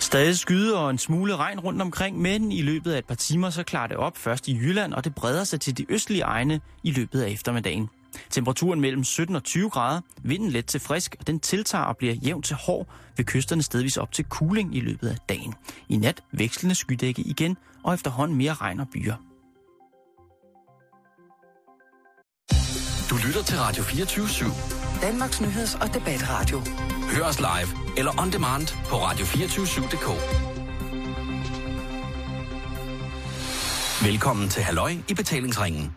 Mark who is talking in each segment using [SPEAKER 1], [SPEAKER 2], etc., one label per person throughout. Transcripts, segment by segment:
[SPEAKER 1] Stadig skyde og en smule regn rundt omkring, men i løbet af et par timer så klarer det op først i Jylland, og det breder sig til de østlige egne i løbet af eftermiddagen. Temperaturen mellem 17 og 20 grader, vinden let til frisk, og den tiltager og bliver jævn til hård ved kysterne stedvis op til kuling i løbet af dagen. I nat vekslende skydække igen, og efterhånden mere regn og byer.
[SPEAKER 2] Du lytter til Radio 24 /7.
[SPEAKER 3] Danmarks Nyheds- og Debatradio.
[SPEAKER 2] Hør os live eller on demand på radio247.dk. Velkommen til Halløj i betalingsringen.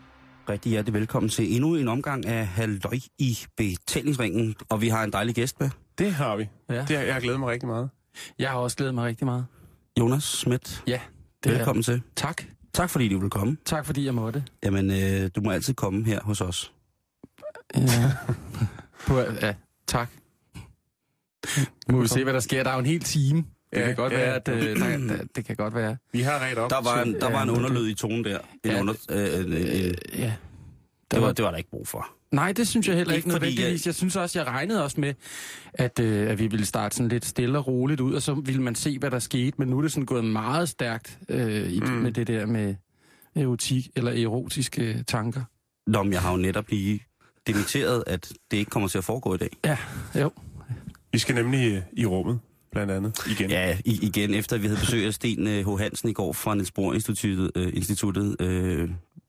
[SPEAKER 4] Rigtig hjertelig velkommen til endnu en omgang af Halløj i betalingsringen. Og vi har en dejlig gæst med,
[SPEAKER 5] Det har vi.
[SPEAKER 6] Ja.
[SPEAKER 5] Ja. Det, har- jeg har glædet mig rigtig meget.
[SPEAKER 6] Jeg har også glædet mig rigtig meget.
[SPEAKER 4] Jonas Schmidt.
[SPEAKER 6] Ja, det er-
[SPEAKER 4] Velkommen til.
[SPEAKER 6] Tak.
[SPEAKER 4] Tak fordi du vil komme.
[SPEAKER 6] Tak fordi jeg måtte.
[SPEAKER 4] Jamen, øh, du må altid komme her hos os.
[SPEAKER 6] Ja. Øh, På, ja, tak. Må vi se, hvad der sker. Der er jo en hel time. Det
[SPEAKER 5] Ja,
[SPEAKER 6] kan godt
[SPEAKER 5] ja.
[SPEAKER 6] være, at øh, der, der, det kan godt være.
[SPEAKER 5] Vi har ret op.
[SPEAKER 4] Der var en, der var en
[SPEAKER 6] Ja,
[SPEAKER 4] underlyd i tonen der. En
[SPEAKER 6] Ja,
[SPEAKER 4] under, øh, en, en, en,
[SPEAKER 6] Øh, ja.
[SPEAKER 4] det, var, det var der ikke brug for.
[SPEAKER 6] Nej, det synes jeg heller
[SPEAKER 4] Ikke
[SPEAKER 6] ikke
[SPEAKER 4] fordi,
[SPEAKER 6] nødvendigvis. Jeg synes også, jeg regnede også med, at, øh, at vi ville starte sådan lidt stille og roligt ud, og så ville man se, hvad der skete. Men nu er det sådan gået meget stærkt øh, i, mm. med det der med erotik eller erotiske tanker.
[SPEAKER 4] Nå, men jeg har jo netop lige demitteret, at det ikke kommer til at foregå i dag.
[SPEAKER 6] Ja, jo.
[SPEAKER 5] Vi skal nemlig øh, i rummet, blandt andet, igen. Ja.
[SPEAKER 4] Ja, i, igen, efter vi havde besøg af Sten øh, H. Hansen i går fra Niels Bohr Instituttet, øh, instituttet øh,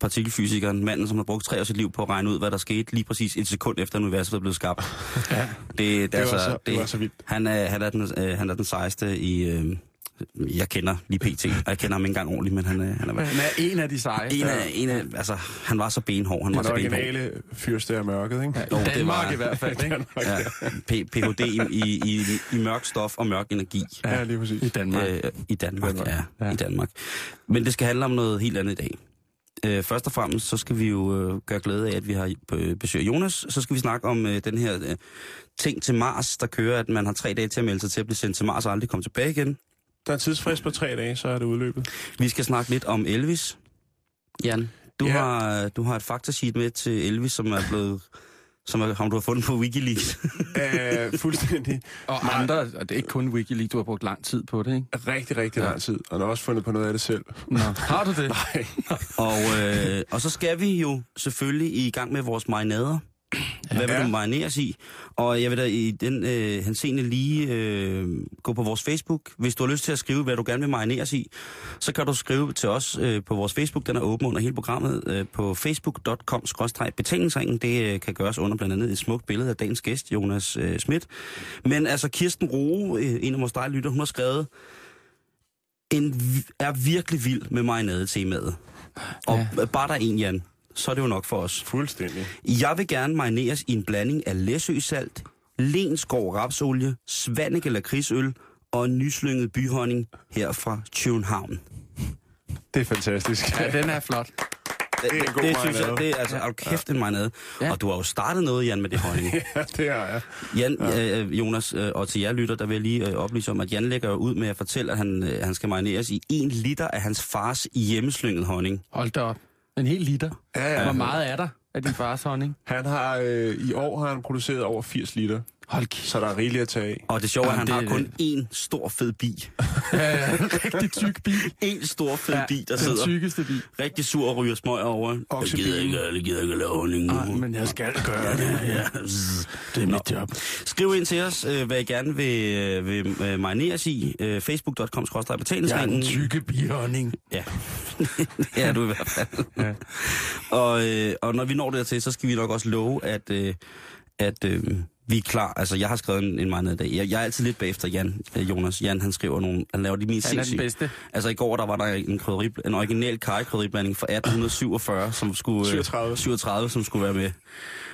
[SPEAKER 4] partikelfysikeren, manden, som har brugt tre år af sit liv på at regne ud, hvad der skete lige præcis et sekund efter, at universet er blevet skabt.
[SPEAKER 6] Ja.
[SPEAKER 4] Det, det, det,
[SPEAKER 5] var
[SPEAKER 4] altså,
[SPEAKER 5] så-
[SPEAKER 4] det,
[SPEAKER 5] det var så vildt.
[SPEAKER 4] Han er, han er, den, øh, han er den sejeste i... Øh, jeg kender lige PT, og jeg kender ham ikke engang ordentligt, men han, øh, han er...
[SPEAKER 6] Han er en af de seje.
[SPEAKER 4] En af, en af, altså, han var så benhård, han var
[SPEAKER 5] Den
[SPEAKER 4] så benhård.
[SPEAKER 5] originale fyrste af mørket, ikke?
[SPEAKER 6] Ja,
[SPEAKER 4] Jo, det
[SPEAKER 6] Danmark
[SPEAKER 4] var-
[SPEAKER 6] i hvert fald, ikke?
[SPEAKER 4] Ja, P- Ph.D. i, i, i, i mørk stof og mørk energi.
[SPEAKER 5] Ja, lige
[SPEAKER 6] I
[SPEAKER 5] præcis.
[SPEAKER 6] Danmark.
[SPEAKER 4] Øh, I Danmark,
[SPEAKER 5] Danmark.
[SPEAKER 4] ja, ja.
[SPEAKER 6] Ja.
[SPEAKER 4] I Danmark. Men det skal handle om noget helt andet i dag. Øh, først og fremmest, så skal vi jo øh, gøre glæde af, at vi har øh, besøg af Jonas. Så skal vi snakke om øh, den her øh, ting til Mars, der kører, at man har tre dage til at melde sig til at blive sendt til Mars og aldrig komme tilbage igen.
[SPEAKER 5] Der er en tidsfrist på tre dage, så er det udløbet.
[SPEAKER 4] Vi skal snakke lidt om Elvis. Jan, du,
[SPEAKER 5] Ja.
[SPEAKER 4] ja. har, du har et faktasheet med til Elvis, som er blevet som er, ham du har fundet på Wikileaks.
[SPEAKER 5] Æh, fuldstændig.
[SPEAKER 6] Og andre, og det er ikke kun Wikileaks, du har brugt lang tid på det, ikke?
[SPEAKER 5] Rigtig, rigtig
[SPEAKER 6] Ja.
[SPEAKER 5] lang tid. Og han har også fundet på noget af det selv.
[SPEAKER 6] Nå. Har du det?
[SPEAKER 5] Nej.
[SPEAKER 4] og, øh, og så skal vi jo selvfølgelig i gang med vores marinader. Hvad vil
[SPEAKER 5] Ja.
[SPEAKER 4] du marineres i? Og jeg vil da i den øh, henseende lige øh, gå på vores Facebook. Hvis du har lyst til at skrive, hvad du gerne vil marineres i, så kan du skrive til os øh, på vores Facebook. Den er åben under hele programmet øh, på facebook.com-betalingsringen. Det øh, kan gøres under blandt andet et smukt billede af dagens gæst, Jonas øh, Schmidt. Men altså Kirsten Roe, øh, en af vores dejlige lytter, hun har skrevet, en, vi- er virkelig vild med marinade-temaet. Og ja. bare der er en, Jan, så er det jo nok for os.
[SPEAKER 5] Fuldstændig.
[SPEAKER 4] Jeg vil gerne marineres i en blanding af læsøsalt, lenskov rapsolie, svanneke lakridsøl og en nyslynget byhonning her fra København. Det,
[SPEAKER 5] Det er fantastisk.
[SPEAKER 6] Ja, den er flot.
[SPEAKER 5] Det er en god
[SPEAKER 4] det synes jeg,
[SPEAKER 5] marinade.
[SPEAKER 4] det er altså, hold kæft en marinade. Ja.
[SPEAKER 6] Ja.
[SPEAKER 4] Og du har jo startet noget, Jan, med det honning.
[SPEAKER 5] Ja, det har jeg.
[SPEAKER 4] Jan, ja. øh, Jonas, øh, og til jer lytter, der vil jeg lige øh, oplyse om, at Jan lægger jo ud med at fortælle, at han, øh, han skal marineres i en liter af hans fars hjemmeslynget honning.
[SPEAKER 6] Hold da op. En hel liter.
[SPEAKER 5] Ja, ja.
[SPEAKER 6] Hvor meget er der af din fars honning?
[SPEAKER 5] Han har, øh, I år har han produceret over 80 liter,
[SPEAKER 6] Hold kæft.
[SPEAKER 5] så der er rigeligt at tage af.
[SPEAKER 4] Og det sjove er, at han
[SPEAKER 6] Jamen,
[SPEAKER 4] har
[SPEAKER 6] det-
[SPEAKER 4] kun én stor fed bi.
[SPEAKER 6] Ja, ja, en rigtig tyk bi.
[SPEAKER 4] En stor fed ja, bi, der
[SPEAKER 6] den
[SPEAKER 4] sidder
[SPEAKER 6] tykkeste bi.
[SPEAKER 4] rigtig sur og ryger smøg over. Jeg
[SPEAKER 5] Oksebilen.
[SPEAKER 4] gider ikke, jeg gider ikke at lave honning nu.
[SPEAKER 6] Ej, men jeg skal gøre det.
[SPEAKER 4] Ja, zzz.
[SPEAKER 6] Det er mit job.
[SPEAKER 4] Skriv ind til os, øh, hvad I gerne vil, øh, vil øh, marineres i. Øh, Facebook.com
[SPEAKER 6] Jeg er
[SPEAKER 4] betalingsringen.
[SPEAKER 6] den tykke bihonning.
[SPEAKER 4] Ja. ja, du i hvert fald. Ja. Og, øh, og når vi når dertil, så skal vi nok også love, at, øh, at øh, vi er klar. Altså, jeg har skrevet en, en meget i dag. Jeg, jeg er altid lidt bagefter Jan, øh, Jonas. Jan, han skriver nogle, han laver de mest
[SPEAKER 6] Han er den
[SPEAKER 4] sindssyge.
[SPEAKER 6] bedste.
[SPEAKER 4] Altså i går, der var der en, krydderi, en original karrykrydderiblanding fra 1847, som skulle... øh,
[SPEAKER 5] 37.
[SPEAKER 4] 37, som skulle være med.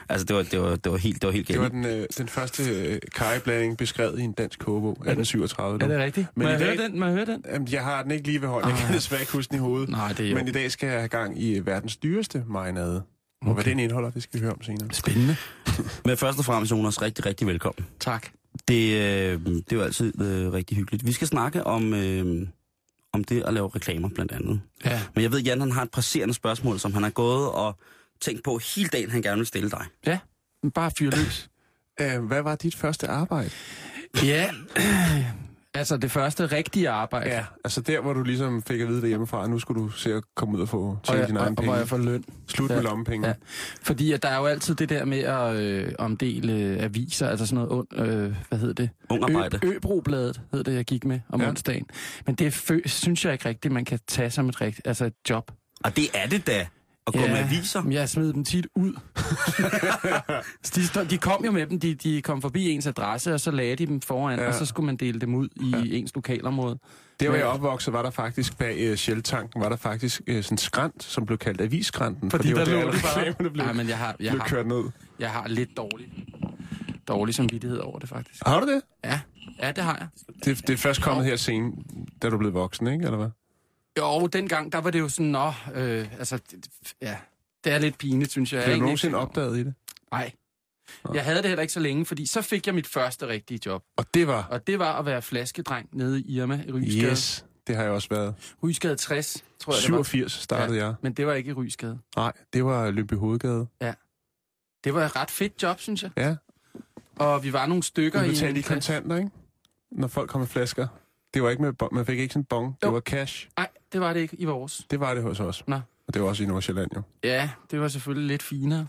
[SPEAKER 4] Altså, det var, det var, det var helt, det var helt
[SPEAKER 5] Det
[SPEAKER 4] galt.
[SPEAKER 5] var den, øh, den første øh, karriblanding beskrevet i en dansk kogebog, 1837.
[SPEAKER 6] Er
[SPEAKER 5] dog.
[SPEAKER 6] det rigtigt?
[SPEAKER 5] Men
[SPEAKER 6] Må
[SPEAKER 5] i
[SPEAKER 6] jeg
[SPEAKER 5] dag-
[SPEAKER 6] høre den? Må jeg høre den?
[SPEAKER 5] Jamen, jeg har den ikke lige ved hånden. Jeg
[SPEAKER 6] Ah.
[SPEAKER 5] kan desværre ikke huske den i hovedet.
[SPEAKER 6] Nej, det er jo-
[SPEAKER 5] Men i dag skal jeg have gang i øh, verdens dyreste marinade. Okay. Og hvad den indeholder, det skal vi høre om senere.
[SPEAKER 6] Spændende.
[SPEAKER 4] Men først og fremmest, Jonas, rigtig, rigtig velkommen.
[SPEAKER 6] Tak.
[SPEAKER 4] Det, øh, det er jo altid øh, rigtig hyggeligt. Vi skal snakke om, øh, om det at lave reklamer, blandt andet.
[SPEAKER 6] Ja.
[SPEAKER 4] Men jeg ved, Jan, han har et presserende spørgsmål, som han har gået og tænkt på hele dagen, han gerne vil stille dig.
[SPEAKER 6] Ja. Men Bare fyr løs.
[SPEAKER 5] Øh, hvad var dit første arbejde?
[SPEAKER 6] Ja, Altså det første rigtige arbejde.
[SPEAKER 5] Ja, altså der, hvor du ligesom fik at vide det hjemmefra, nu skulle du se at komme ud og få
[SPEAKER 6] Og,
[SPEAKER 5] tjene
[SPEAKER 6] jeg,
[SPEAKER 5] dine
[SPEAKER 6] og,
[SPEAKER 5] egne
[SPEAKER 6] og hvor
[SPEAKER 5] penge.
[SPEAKER 6] jeg får løn.
[SPEAKER 5] Slut med
[SPEAKER 6] Ja.
[SPEAKER 5] lommepenge.
[SPEAKER 6] Ja. Fordi at der er jo altid det der med at øh, omdele øh, aviser, altså sådan noget ond, øh, hvad hed det?
[SPEAKER 4] Ung arbejde.
[SPEAKER 6] Ø- Øbrobladet hed det, jeg gik med om
[SPEAKER 5] Ja.
[SPEAKER 6] ja. onsdagen. Men det fø- synes jeg ikke rigtigt, man kan tage som et rigtigt, altså et job.
[SPEAKER 4] Og det er det da, at gå ja. med aviser.
[SPEAKER 6] Men Jeg smed dem tit ud. de, stod, de kom jo med dem, de, de kom forbi ens adresse, og så lagde de dem foran,
[SPEAKER 5] Ja.
[SPEAKER 6] ja. og så skulle man dele dem ud i ja. ens lokalområde.
[SPEAKER 5] Der, hvor
[SPEAKER 6] Ja.
[SPEAKER 5] jeg opvoksede, var der faktisk bag uh, Shell-tanken, var der faktisk uh, sådan en skrant, som blev kaldt avisskrænten.
[SPEAKER 6] Fordi
[SPEAKER 5] det var
[SPEAKER 6] der lå
[SPEAKER 5] alle
[SPEAKER 6] det bare.
[SPEAKER 5] reklamerne blev,
[SPEAKER 6] Nej, men jeg har, jeg
[SPEAKER 5] blev
[SPEAKER 6] har,
[SPEAKER 5] kørt ned.
[SPEAKER 6] jeg har lidt dårlig, dårlig samvittighed over det, faktisk.
[SPEAKER 5] Har du det?
[SPEAKER 6] Ja, ja det har jeg.
[SPEAKER 5] Det, det er først kommet her sent, da du blev voksen, ikke? Eller hvad?
[SPEAKER 6] Jo, dengang, der var det jo sådan, nå, øh, altså, det- det- ja, det er lidt pinligt, synes jeg.
[SPEAKER 5] Har
[SPEAKER 6] Ikke?
[SPEAKER 5] du nogensinde opdaget i det?
[SPEAKER 6] Nej. Jeg havde det heller ikke så længe, fordi så fik jeg mit første rigtige job.
[SPEAKER 5] Og det var...
[SPEAKER 6] Og det var at være flaskedreng nede i Irma i Rysgade.
[SPEAKER 5] Yes, det har jeg også været.
[SPEAKER 6] Rysgade 60, tror jeg, det var.
[SPEAKER 5] 87 startede jeg.
[SPEAKER 6] Men det var ikke i Rysgade.
[SPEAKER 5] Nej, det var Lømby Hovedgade.
[SPEAKER 6] Det var et ret fedt job, synes jeg.
[SPEAKER 5] Ja,
[SPEAKER 6] Og vi var nogle stykker
[SPEAKER 5] du
[SPEAKER 6] i...
[SPEAKER 5] betalte i
[SPEAKER 6] en klasse.
[SPEAKER 5] kontanter, ikke? Når folk kom med flasker. Det var ikke med bon. Man fik ikke sådan en bong. Det
[SPEAKER 6] Jo.
[SPEAKER 5] var cash.
[SPEAKER 6] Nej, det var det ikke i vores.
[SPEAKER 5] Det var det hos os.
[SPEAKER 6] Nå.
[SPEAKER 5] Og det var også i Nordsjælland, jo.
[SPEAKER 6] Ja, det var selvfølgelig lidt finere.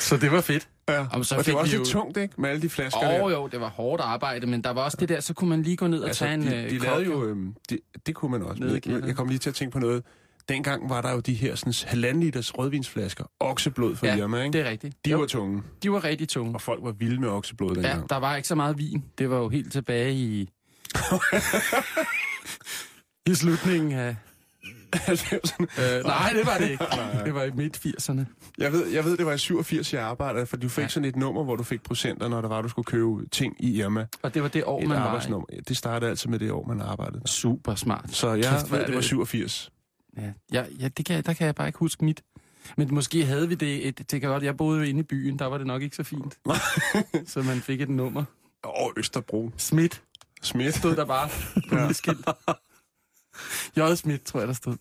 [SPEAKER 6] så det var fedt.
[SPEAKER 5] Ja,
[SPEAKER 6] Og så
[SPEAKER 5] og det
[SPEAKER 6] fik
[SPEAKER 5] var også
[SPEAKER 6] vi
[SPEAKER 5] lidt
[SPEAKER 6] jo-
[SPEAKER 5] tungt, ikke? Med alle de flasker
[SPEAKER 6] Åh
[SPEAKER 5] der.
[SPEAKER 6] oh, jo, det var hårdt arbejde, men der var også det der, så kunne man lige gå ned og
[SPEAKER 5] Altså,
[SPEAKER 6] altså, tage
[SPEAKER 5] de,
[SPEAKER 6] en øh,
[SPEAKER 5] de
[SPEAKER 6] kop,
[SPEAKER 5] lavede jo... Øhm, det, det kunne man også.
[SPEAKER 6] Nede i
[SPEAKER 5] Men Jeg,
[SPEAKER 6] kælderen.
[SPEAKER 5] jeg kom lige til at tænke på noget. Dengang var der jo de her sådan, halvanden liters rødvinsflasker. Okseblod fra
[SPEAKER 6] Ja,
[SPEAKER 5] ja, Irma, ikke?
[SPEAKER 6] Det er rigtigt.
[SPEAKER 5] De
[SPEAKER 6] Jo,
[SPEAKER 5] var tunge,
[SPEAKER 6] de var rigtig tunge.
[SPEAKER 5] og folk var vilde med okseblod dengang.
[SPEAKER 6] Ja, der var ikke så meget vin. Det var jo helt tilbage i... I slutningen af...
[SPEAKER 5] 90'erne.
[SPEAKER 6] Øh, nej, det var det ikke. Det var i midt-80'erne.
[SPEAKER 5] jeg, ved, jeg ved, det var i 87, jeg arbejdede, for du fik ja.
[SPEAKER 6] Ja.
[SPEAKER 5] sådan et nummer, hvor du fik procenter, når der var, du skulle købe ting i Irma.
[SPEAKER 6] Og det var det år,
[SPEAKER 5] Et
[SPEAKER 6] man var i.
[SPEAKER 5] arbejdsnummer. Ja, Det startede altid med det år, man arbejdede. der.
[SPEAKER 6] Super smart.
[SPEAKER 5] Så jeg
[SPEAKER 6] Kæft, hvor
[SPEAKER 5] ved,
[SPEAKER 6] er
[SPEAKER 5] det var
[SPEAKER 6] det-
[SPEAKER 5] 87.
[SPEAKER 6] Ja, ja, ja det kan, der kan jeg bare ikke huske mit. Men måske havde vi det et... Det kan godt, jeg boede jo inde i byen, der var det nok ikke så fint. så man fik et nummer.
[SPEAKER 5] Og Østerbro.
[SPEAKER 6] Smidt
[SPEAKER 5] Smidt.
[SPEAKER 6] stod der bare på mit skilt. J. Smidt, tror jeg, der stod.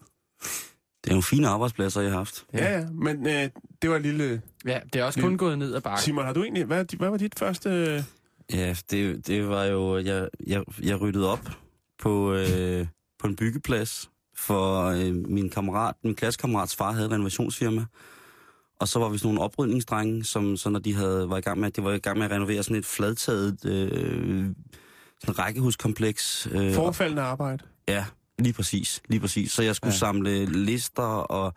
[SPEAKER 4] Det er nogle fine arbejdspladser, jeg har haft.
[SPEAKER 5] Ja, ja, men øh, det var en lille...
[SPEAKER 6] Ja, det er også kun gået ned ad bakken.
[SPEAKER 5] Simon, har du egentlig... Hvad, hvad var dit første... øh,
[SPEAKER 4] Ja, det, det var jo... Jeg, jeg, jeg ryddede op på, øh, på en byggeplads, for øh, min kammerat, min klassekammerats far havde et renovationsfirma. Og så var vi sådan nogle oprydningsdrenge, som så når de havde, var i gang med, de var i gang med at renovere sådan et fladtaget øh, sådan rækkehuskompleks. Øh,
[SPEAKER 5] Forfaldende arbejde.
[SPEAKER 4] Ja, lige præcis. Lige præcis. Så jeg skulle ja. samle lister, og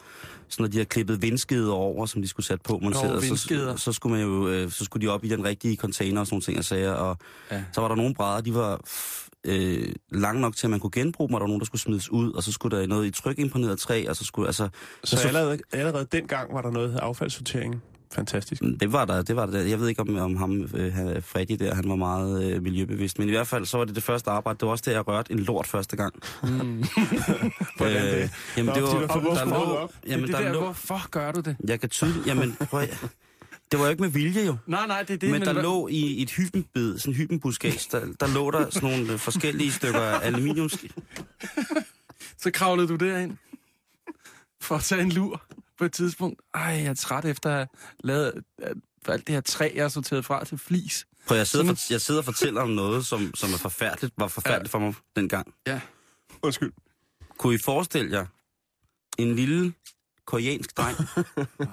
[SPEAKER 4] sådan, når de har klippet vindskeder over, som de skulle sætte på monteret, så,
[SPEAKER 6] vindskeder.
[SPEAKER 4] så, skulle man jo, øh, så skulle de op i den rigtige container og sådan nogle ting og sager. Og ja.
[SPEAKER 6] Ja.
[SPEAKER 4] så var der nogle brædder, de var f- øh, lange nok til, at man kunne genbruge dem, og der var nogen, der skulle smides ud, og så skulle der noget i trykimponeret træ, og så skulle, altså,
[SPEAKER 5] Så,
[SPEAKER 4] så-
[SPEAKER 5] så allerede, allerede dengang var der noget affaldssortering. Fantastisk.
[SPEAKER 6] Mm.
[SPEAKER 4] det var der, det var der. Jeg ved ikke, om, om ham, øh, han- Freddy der, han var meget øh, miljøbevidst, men i hvert fald, så var det det første arbejde, det var også det, jeg rørte en lort første gang. Øh,
[SPEAKER 6] Mm.
[SPEAKER 5] Hvordan det?
[SPEAKER 4] jamen,
[SPEAKER 5] Nå,
[SPEAKER 4] det var,
[SPEAKER 5] fordi der får
[SPEAKER 4] der
[SPEAKER 5] luft ud
[SPEAKER 4] lå,
[SPEAKER 5] op.
[SPEAKER 4] jamen,
[SPEAKER 6] det er det
[SPEAKER 4] der
[SPEAKER 6] der,
[SPEAKER 4] lå,
[SPEAKER 6] hvorfor gør du det?
[SPEAKER 4] Jeg kan tydeligt... Jamen, prøv at- Det var jo ikke med vilje, jo.
[SPEAKER 6] Nej, nej, det er
[SPEAKER 4] Det,
[SPEAKER 6] det.
[SPEAKER 4] men der
[SPEAKER 6] hvad-
[SPEAKER 4] lå i et hybenbed, sådan en hybenbuskage, der, der lå der sådan nogle øh, forskellige stykker aluminium.
[SPEAKER 6] Så kravlede du derind for at tage en lur på et tidspunkt. Ej, jeg er træt efter at have lavet at alt det her træ, jeg har sorteret fra til flis.
[SPEAKER 4] Prøv, jeg sidder, for, jeg sidder og fortæller om noget, som, som er forfærdeligt, var forfærdeligt for mig dengang.
[SPEAKER 6] Ja.
[SPEAKER 5] Undskyld.
[SPEAKER 4] Kunne I forestille jer en lille koreansk dreng
[SPEAKER 6] Nej,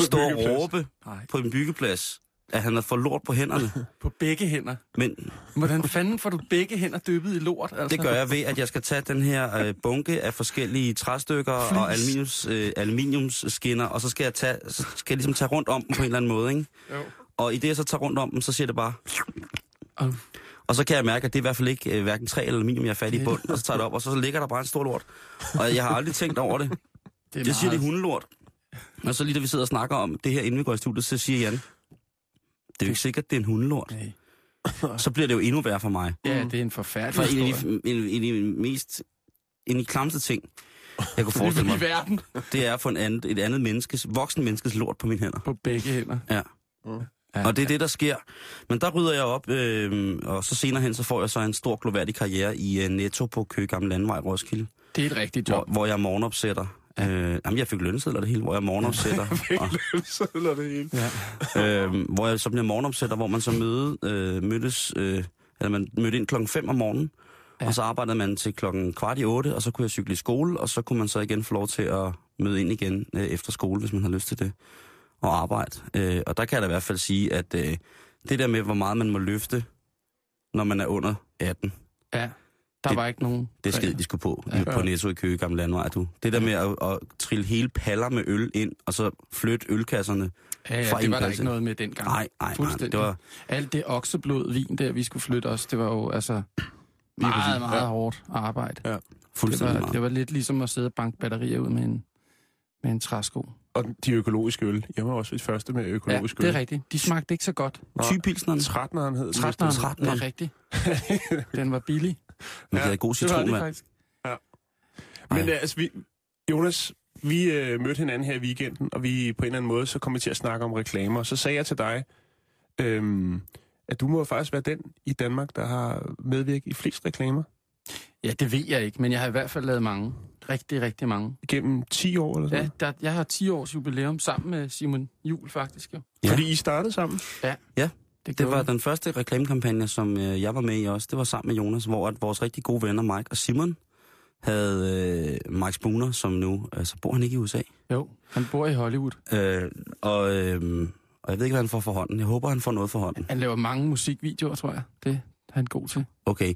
[SPEAKER 4] stå og
[SPEAKER 5] byggeplads.
[SPEAKER 4] råbe
[SPEAKER 6] nej.
[SPEAKER 4] på en byggeplads, at han har fået lort på hænderne?
[SPEAKER 6] På begge hænder.
[SPEAKER 4] Men
[SPEAKER 6] Hvordan fanden får du begge hænder dyppet i lort? Altså?
[SPEAKER 4] Det gør jeg ved, at jeg skal tage den her øh, bunke af forskellige træstykker Flis. og aluminiums, øh, aluminiumsskinner, og så skal jeg, tage, så skal jeg ligesom tage rundt om dem på en eller anden måde, ikke?
[SPEAKER 6] Jo.
[SPEAKER 4] Og i det, jeg så tager rundt om dem, så siger det bare...
[SPEAKER 6] Au.
[SPEAKER 4] Og så kan jeg mærke, at det er i hvert fald ikke øh, hverken træ eller aluminium, jeg er fat i bunden, og så tager jeg det op, og så ligger der bare en stor lort. Og jeg har aldrig tænkt over det.
[SPEAKER 6] Det er
[SPEAKER 4] Jeg siger, det er
[SPEAKER 6] meget-
[SPEAKER 4] hundelort. Og så lige da vi sidder og snakker om det her, inden vi går i studiet, så siger Jan, det er jo ikke sikkert, det er en hundelort.
[SPEAKER 6] Nej.
[SPEAKER 4] Så bliver det jo endnu værre for mig.
[SPEAKER 6] Ja, det er en
[SPEAKER 4] For
[SPEAKER 6] forfærdelig
[SPEAKER 4] Mm. en af,
[SPEAKER 6] historie.
[SPEAKER 4] de, en, en af de mest en af de klamste ting, jeg kunne forestille
[SPEAKER 6] I
[SPEAKER 4] mig,
[SPEAKER 6] verden.
[SPEAKER 4] det er at få en andet, et andet menneskes, voksen menneskes lort på mine hænder.
[SPEAKER 6] På begge hænder.
[SPEAKER 4] Ja.
[SPEAKER 6] Ja,
[SPEAKER 4] Og det er det, der sker. Men der rydder jeg op, øh, og så senere hen, så får jeg så en stor gloværdig karriere i øh, Netto på Køge Gamle Landvej i Roskilde,
[SPEAKER 6] det er et rigtigt
[SPEAKER 4] hvor,
[SPEAKER 6] job.
[SPEAKER 4] hvor jeg morgenopsætter Øh, jamen, jeg fik lønsedler det hele, hvor jeg morgenopsætter. og,
[SPEAKER 5] Sædler det hele. Ja.
[SPEAKER 4] øh, hvor jeg så blev morgenopsætter, hvor man så møde, øh, mødtes, øh, eller man mødte ind klokken 5 om morgenen, ja. og så arbejdede man til klokken kvart i 8, og så kunne jeg cykle i skole, og så kunne man så igen få lov til at møde ind igen øh, efter skole, hvis man har lyst til det, og arbejde. Øh, og der kan jeg da i hvert fald sige, at øh, det der med, hvor meget man må løfte, når man er under 18,
[SPEAKER 6] Ja. Der
[SPEAKER 4] Det-
[SPEAKER 6] var ikke nogen...
[SPEAKER 4] det skid, de skulle på, ja. på Netto i Køge, Gamle Landvej, du. Det der med at, at trille hele paller med øl ind, og så flytte ølkasserne.
[SPEAKER 6] Ja, ja,
[SPEAKER 4] fra
[SPEAKER 6] det
[SPEAKER 4] en
[SPEAKER 6] var der
[SPEAKER 4] kasse.
[SPEAKER 6] ikke noget med dengang.
[SPEAKER 4] Nej, nej, nej.
[SPEAKER 6] Fuldstændig.
[SPEAKER 4] Det var,
[SPEAKER 6] Alt det okseblod vin der, vi skulle flytte os, det var jo altså meget, meget ja. hårdt arbejde.
[SPEAKER 5] Ja,
[SPEAKER 6] det,
[SPEAKER 4] fuldstændig
[SPEAKER 6] var,
[SPEAKER 4] meget.
[SPEAKER 6] det var lidt ligesom at sidde og banke batterier ud med en, med en træsko.
[SPEAKER 5] Og de økologiske øl. Jeg var også det første med
[SPEAKER 6] Ja,
[SPEAKER 5] økologisk
[SPEAKER 6] det
[SPEAKER 5] øl.
[SPEAKER 6] er rigtigt. De smagte ikke så godt.
[SPEAKER 4] Typilsneren.
[SPEAKER 5] 13'eren hed den.
[SPEAKER 6] 13'eren,
[SPEAKER 4] 13'eren.
[SPEAKER 6] det er rigtigt. Den var billig.
[SPEAKER 4] Men
[SPEAKER 5] Ja,
[SPEAKER 4] ja, det er god
[SPEAKER 6] Det var
[SPEAKER 4] citron,
[SPEAKER 6] det
[SPEAKER 4] mand.
[SPEAKER 6] faktisk.
[SPEAKER 5] Men øh, altså, vi, Jonas, vi øh, mødte hinanden her i weekenden, og vi på en eller anden måde, så kom vi til at snakke om reklamer. Så sagde jeg til dig, øhm, at du må faktisk være den i Danmark, der har medvirket i flest reklamer
[SPEAKER 6] Ja, det ved jeg ikke, men jeg har i hvert fald lavet mange. Rigtig, rigtig mange.
[SPEAKER 5] gennem 10 år eller sådan
[SPEAKER 6] Ja,
[SPEAKER 5] noget.
[SPEAKER 6] der, jeg har 10 års jubilæum sammen med Simon Jul faktisk jo.
[SPEAKER 4] Ja.
[SPEAKER 5] Fordi I startede sammen.
[SPEAKER 4] Det
[SPEAKER 6] gjorde
[SPEAKER 4] var
[SPEAKER 6] vi.
[SPEAKER 4] den første reklamekampagne, som øh, jeg var med i også. Det var sammen med Jonas, hvor at vores rigtig gode venner Mike og Simon havde øh, Mike Spooner, som nu... Altså, bor han ikke i USA?
[SPEAKER 6] Jo, han bor i Hollywood.
[SPEAKER 4] Øh, og, øh, og jeg ved ikke, hvad han får for hånden. Jeg håber, han får noget for hånden.
[SPEAKER 6] Han laver mange musikvideoer, tror jeg. Det er han god til.
[SPEAKER 4] Okay.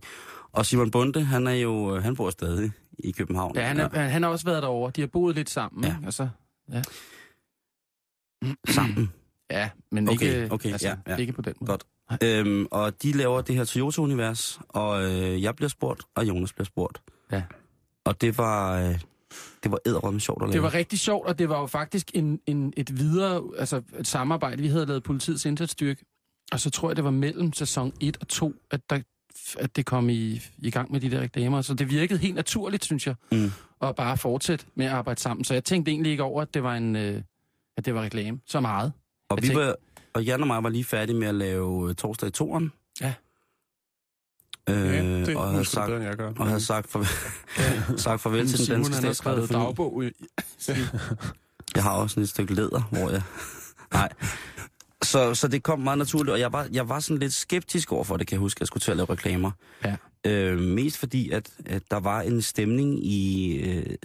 [SPEAKER 4] Og Simon Bunde, han er jo, øh, han bor stadig i København.
[SPEAKER 6] Ja, han, er, ja. han har også været derovre. De har boet lidt sammen,
[SPEAKER 4] Ja.
[SPEAKER 6] ja. ikke? Altså, Og så,
[SPEAKER 4] sammen.
[SPEAKER 6] ja, men
[SPEAKER 4] Okay,
[SPEAKER 6] ikke, altså,
[SPEAKER 4] okay, ja, ja.
[SPEAKER 6] ikke på den måde.
[SPEAKER 4] Godt. Øhm, og de laver det her Toyota-univers, og øh, jeg bliver spurgt, og Jonas bliver spurgt.
[SPEAKER 6] Ja.
[SPEAKER 4] Og det var, øh, det var æderrømme sjovt at lave.
[SPEAKER 6] Det var rigtig sjovt, og det var jo faktisk en, en, et videre altså et samarbejde. Vi havde lavet politiets indsatsstyrke, og så tror jeg, det var mellem sæson 1 og 2, at, der, at det kom i, i gang med de der reklamer. Så det virkede helt naturligt, synes jeg,
[SPEAKER 4] Mm.
[SPEAKER 6] at bare fortsætte med at arbejde sammen. Så jeg tænkte egentlig ikke over, at det var, en, øh, at det var reklame så meget.
[SPEAKER 4] og,
[SPEAKER 6] jeg
[SPEAKER 4] vi
[SPEAKER 6] tænkte-
[SPEAKER 4] var, og Jan og mig var lige færdige med at lave øh, torsdag i toren.
[SPEAKER 6] Ja.
[SPEAKER 4] Øh,
[SPEAKER 5] Ja,
[SPEAKER 4] ja,
[SPEAKER 5] det
[SPEAKER 4] og
[SPEAKER 5] og
[SPEAKER 4] havde
[SPEAKER 5] husker du
[SPEAKER 4] sagt,
[SPEAKER 5] bedre, end jeg gør.
[SPEAKER 4] og havde sagt, farvel, sagt farvel til den
[SPEAKER 6] Simon,
[SPEAKER 4] danske
[SPEAKER 6] han har skrevet
[SPEAKER 4] statsrette. fordi-
[SPEAKER 6] dagbog i-
[SPEAKER 4] Jeg har også sådan et stykke læder, hvor jeg... Nej. Så, så det kom meget naturligt, og jeg var, jeg var sådan lidt skeptisk overfor det, kan jeg huske, at jeg skulle til at lave reklamer.
[SPEAKER 6] Ja.
[SPEAKER 4] Øh, mest fordi, at, at der var en stemning i øh, det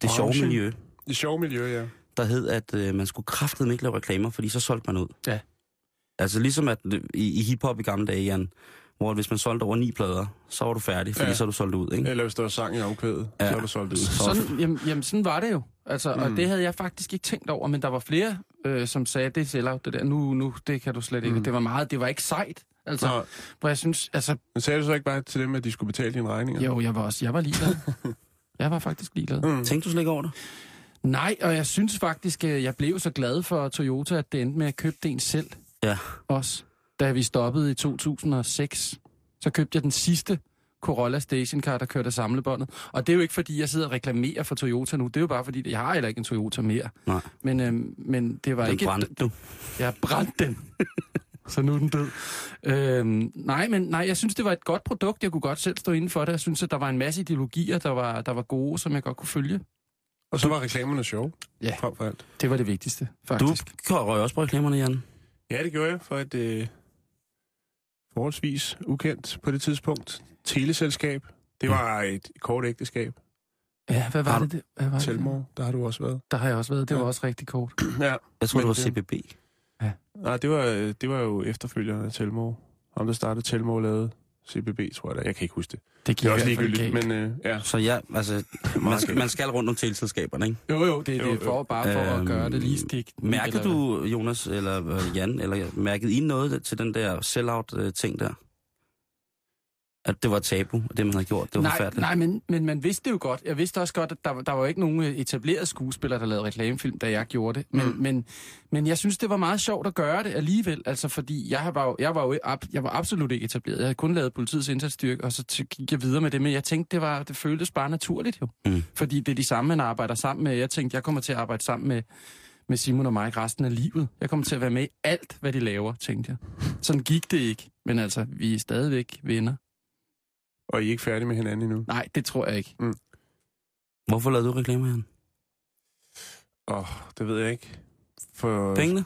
[SPEAKER 4] sjove
[SPEAKER 5] Branchen.
[SPEAKER 4] miljø,
[SPEAKER 5] I sjov miljø, ja.
[SPEAKER 4] der hed, at øh, man skulle kraftedeme ikke lave reklamer, fordi så solgte man ud.
[SPEAKER 6] Ja.
[SPEAKER 4] Altså ligesom at øh, i, i hiphop i gamle dage, Jan, hvor hvis man solgte over ni plader, så var du færdig, fordi ja.
[SPEAKER 5] Ja.
[SPEAKER 4] så er du solgt ud, ikke?
[SPEAKER 5] Eller hvis der var sang i omkvædet,
[SPEAKER 4] Ja.
[SPEAKER 5] ja. så var du solgt ud.
[SPEAKER 6] Sådan, jamen, jamen, sådan var det jo. Altså, mm. Og
[SPEAKER 5] Mm.
[SPEAKER 6] det havde jeg faktisk ikke tænkt over, men der var flere, øh, som sagde, det er sellout, det der. Nu, nu, det kan du slet ikke. Mm.
[SPEAKER 5] Mm.
[SPEAKER 6] Det var meget, det var ikke sejt. Altså,
[SPEAKER 5] Nå,
[SPEAKER 6] hvor jeg synes, altså,
[SPEAKER 5] men sagde du så ikke bare til dem, at de skulle betale dine regninger?
[SPEAKER 6] jo, jeg var også, jeg var ligeglad. jeg var faktisk ligeglad.
[SPEAKER 5] Mm.
[SPEAKER 4] Tænkte du slet ikke over det?
[SPEAKER 6] Nej, og jeg synes faktisk, øh, jeg blev så glad for Toyota, at det endte med at købe den selv.
[SPEAKER 4] Ja.
[SPEAKER 6] Også. Da vi stoppede i 2006, så købte jeg den sidste Corolla stationcar, der kørte af samlebåndet. Og det er jo ikke, fordi jeg sidder og reklamerer for Toyota nu. Det er jo bare, fordi jeg har heller ikke en Toyota mere.
[SPEAKER 4] Nej.
[SPEAKER 6] Men, øhm, men det var
[SPEAKER 4] Den
[SPEAKER 6] ikke...
[SPEAKER 4] brændte du.
[SPEAKER 6] Jeg brændte den. så nu er den død. Øhm, nej, men nej, jeg synes, det var et godt produkt. Jeg kunne godt selv stå inden for det. Jeg synes, at der var en masse ideologier, der var, der var gode, som jeg godt kunne følge.
[SPEAKER 5] Og så var reklamerne sjove,
[SPEAKER 6] Ja.
[SPEAKER 5] frem for alt.
[SPEAKER 6] Det var det vigtigste,
[SPEAKER 4] Du
[SPEAKER 6] faktisk.
[SPEAKER 4] røg også på reklamerne, Jan.
[SPEAKER 5] Ja, det gjorde jeg for et øh, forholdsvis ukendt på det tidspunkt teleselskab. Det var et kort ægteskab.
[SPEAKER 6] Ja, hvad var
[SPEAKER 4] Har
[SPEAKER 6] det? det? Hvad var det?
[SPEAKER 5] Telmor, der har du også været.
[SPEAKER 6] Der har jeg også været. Det var
[SPEAKER 5] Ja.
[SPEAKER 6] også rigtig kort.
[SPEAKER 5] Ja.
[SPEAKER 4] Jeg tror, det
[SPEAKER 5] Men
[SPEAKER 4] var
[SPEAKER 5] det-
[SPEAKER 4] CBB.
[SPEAKER 5] Nej, det var, øh, det var jo efterfølgerne af Telmor. Ham, der startede Telmor, lavede CBB, tror jeg da. Jeg kan ikke huske det.
[SPEAKER 6] Det
[SPEAKER 5] Det
[SPEAKER 6] gik
[SPEAKER 5] er også
[SPEAKER 6] i hvert fald
[SPEAKER 5] ligegyldigt,
[SPEAKER 6] galt.
[SPEAKER 5] men øh, ja.
[SPEAKER 4] Så ja, altså, man, skal,
[SPEAKER 5] galt.
[SPEAKER 4] man skal rundt om teleselskaberne, ikke?
[SPEAKER 6] Jo, jo, det, det er
[SPEAKER 5] Jo, jo.
[SPEAKER 6] for, bare for
[SPEAKER 4] Øhm,
[SPEAKER 6] at gøre det lige stik.
[SPEAKER 4] Mærkede
[SPEAKER 6] Eller-
[SPEAKER 4] du, Jonas, eller øh, Jan, eller mærkede I noget til den der sell-out-ting der? At det var et tabu, og det man havde gjort, det var
[SPEAKER 6] nej,
[SPEAKER 4] forfærdeligt.
[SPEAKER 6] nej men, men man vidste det jo godt. Jeg vidste også godt, at der, der var jo ikke nogen øh, etablerede skuespillere, der lavede reklamefilm, da jeg gjorde det. Men, mm. men, men jeg synes, det var meget sjovt at gøre det alligevel, altså fordi jeg var jo, jeg var jo ab, jeg var absolut ikke etableret. Jeg havde kun lavet politiets indsatsstyrke, og så t- gik jeg videre med det. Men jeg tænkte, det, var, det føltes bare naturligt jo.
[SPEAKER 4] Mm.
[SPEAKER 6] Fordi det er de samme, man arbejder sammen med. Jeg tænkte, jeg kommer til at arbejde sammen med, med Simon og Mike resten af livet. Jeg kommer til at være med i alt, hvad de laver, tænkte jeg. Sådan gik det ikke. Men altså, vi er stadigvæk venner.
[SPEAKER 5] Og I er ikke færdige med hinanden endnu.
[SPEAKER 6] Nej, det tror jeg ikke.
[SPEAKER 4] Hvorfor lavede du reklamer, Jan?
[SPEAKER 5] Åh, oh, det ved jeg ikke. For...
[SPEAKER 4] Pengene?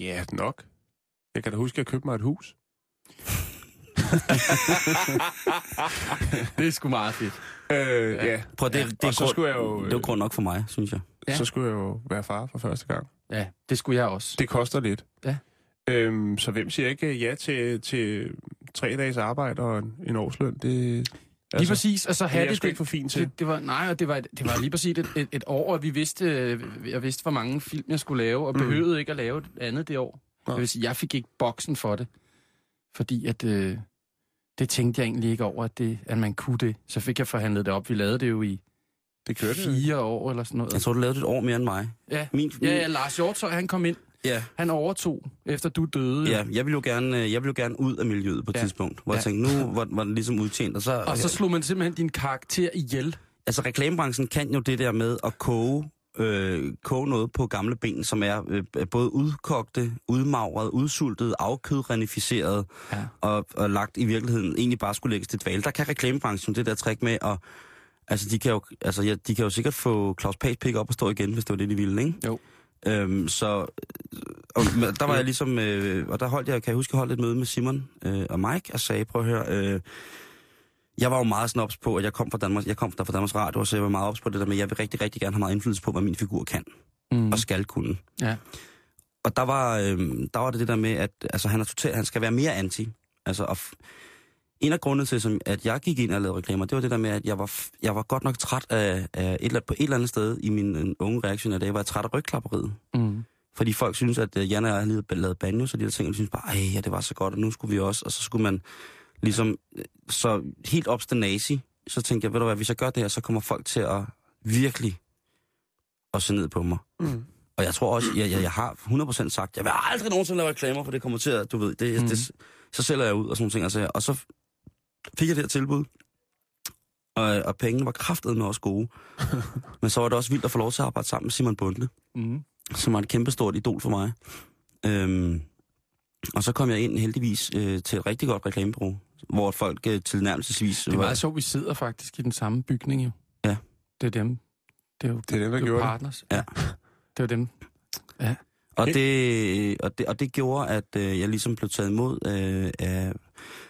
[SPEAKER 5] Ja, nok. Jeg kan da huske, at jeg købte mig et hus.
[SPEAKER 6] Det er sgu meget fedt.
[SPEAKER 5] Øh, ja. ja.
[SPEAKER 4] Prøv, det, ja, det,
[SPEAKER 5] og
[SPEAKER 4] er
[SPEAKER 5] så
[SPEAKER 4] grund,
[SPEAKER 5] skulle jeg jo,
[SPEAKER 4] det var grund nok for mig, synes jeg.
[SPEAKER 5] ja.
[SPEAKER 6] Ja.
[SPEAKER 5] så skulle jeg jo være far for første gang.
[SPEAKER 6] Ja, det skulle jeg også.
[SPEAKER 5] Det koster lidt.
[SPEAKER 6] Ja.
[SPEAKER 5] Øhm, så hvem siger ikke ja til, til tre dages arbejde og en, en årsløn? Det,
[SPEAKER 6] Lige præcis, og
[SPEAKER 5] altså,
[SPEAKER 6] så
[SPEAKER 5] det er
[SPEAKER 6] havde
[SPEAKER 5] jeg
[SPEAKER 6] det,
[SPEAKER 5] sgu ikke
[SPEAKER 6] det,
[SPEAKER 5] for fint til.
[SPEAKER 6] det, det var, nej, og det var, et- det var lige præcis et, et, et år, at vi vidste, øh, jeg vidste, hvor mange film jeg skulle lave, og behøvede ikke at lave et andet det år.
[SPEAKER 5] Nej.
[SPEAKER 6] Jeg vil sige, jeg fik ikke boksen for det, fordi at, øh, det tænkte jeg egentlig ikke over, at, det, at man kunne det. Så fik jeg forhandlet det op. Vi lavede det jo i
[SPEAKER 5] Det kørte det.
[SPEAKER 6] fire år eller sådan noget.
[SPEAKER 4] Jeg tror, du lavede det et år mere end mig.
[SPEAKER 6] Ja,
[SPEAKER 4] Min, min,
[SPEAKER 6] ja, ja Lars Hjortøj, han kom ind.
[SPEAKER 4] ja.
[SPEAKER 6] Han overtog, efter du døde.
[SPEAKER 4] Ja, jeg ville jo gerne, øh, jeg ville jo gerne ud af miljøet på et ja.
[SPEAKER 6] Ja.
[SPEAKER 4] tidspunkt, hvor ja. jeg
[SPEAKER 6] Ja.
[SPEAKER 4] tænkte, nu var, var den ligesom udtjent. Og så,
[SPEAKER 6] Og så slog man simpelthen din karakter ihjel.
[SPEAKER 4] altså reklamebranchen kan jo det der med at koge, øh, koge noget på gamle ben, som er øh, både udkogte, udmagret, udsultet, afkødrenificeret ja.
[SPEAKER 6] Ja.
[SPEAKER 4] og, og lagt i virkeligheden egentlig bare skulle lægges til dvale. Der kan reklamebranchen det der trick med at Altså, de kan jo, altså ja, de kan jo sikkert få Claus Pags pik op og stå igen, hvis det var det, de ville, ikke?
[SPEAKER 6] Jo.
[SPEAKER 4] Øhm, så og, men der var jeg ligesom, øh, og der holdt jeg, kan jeg huske, jeg holdt et møde med Simon øh, og Mike, og sagde, prøv at høre, øh, jeg var jo meget snops på, at jeg kom fra Danmark, jeg kom der fra Danmarks Radio, så jeg var meget ops på det der med, at jeg vil rigtig, rigtig gerne have meget indflydelse på, hvad min figur kan
[SPEAKER 6] Mm.
[SPEAKER 4] og skal kunne.
[SPEAKER 6] Ja.
[SPEAKER 4] Og der var, øh, der var det det der med, at altså, han, er total, han skal være mere anti. Altså, og f- en af grundene til, som, at jeg gik ind og lavede reklamer, det var det der med, at jeg var, f- jeg var godt nok træt af, af et eller, andet- på et eller andet sted i min øh, unge reaktion af det, jeg var træt af rygklapperiet.
[SPEAKER 6] Mm.
[SPEAKER 4] Fordi folk synes, at øh, Jan og jeg har lige lavet banjo, så de der ting, og de synes bare, ej, ja, det var så godt, og nu skulle vi også, og så skulle man ligesom, øh, så helt obstinazi, så tænkte jeg, ved du hvad, hvis jeg gør det her, så kommer folk til at virkelig at se ned på mig.
[SPEAKER 5] Mm.
[SPEAKER 4] Og jeg tror også, jeg, jeg, jeg har 100% sagt, jeg vil aldrig nogensinde lave reklamer, for det kommer til at, du ved, det, mm.
[SPEAKER 6] Mhm.
[SPEAKER 4] det, så sælger jeg ud og sådan nogle ting, altså, og så fik jeg det her tilbud, og, og pengene var kraftedeme også gode. Men så var det også vildt at få lov til at arbejde sammen med Simon Bundle
[SPEAKER 6] Mm.
[SPEAKER 4] som var et kæmpestort idol for mig. Øhm, og så kom jeg ind heldigvis øh, til et rigtig godt reklamebureau, hvor folk øh, tilnærmelsesvis...
[SPEAKER 6] Det altså er
[SPEAKER 4] var-
[SPEAKER 6] meget sjovt, vi sidder faktisk i den samme bygning jo.
[SPEAKER 4] Ja.
[SPEAKER 6] Det er dem. Det er jo,
[SPEAKER 5] Det er dem, der
[SPEAKER 6] det er jo
[SPEAKER 5] gjorde det.
[SPEAKER 6] partners.
[SPEAKER 4] Ja.
[SPEAKER 6] Det er dem.
[SPEAKER 4] Og det, øh, og, det, og det gjorde, at øh, jeg ligesom blev taget imod øh, af,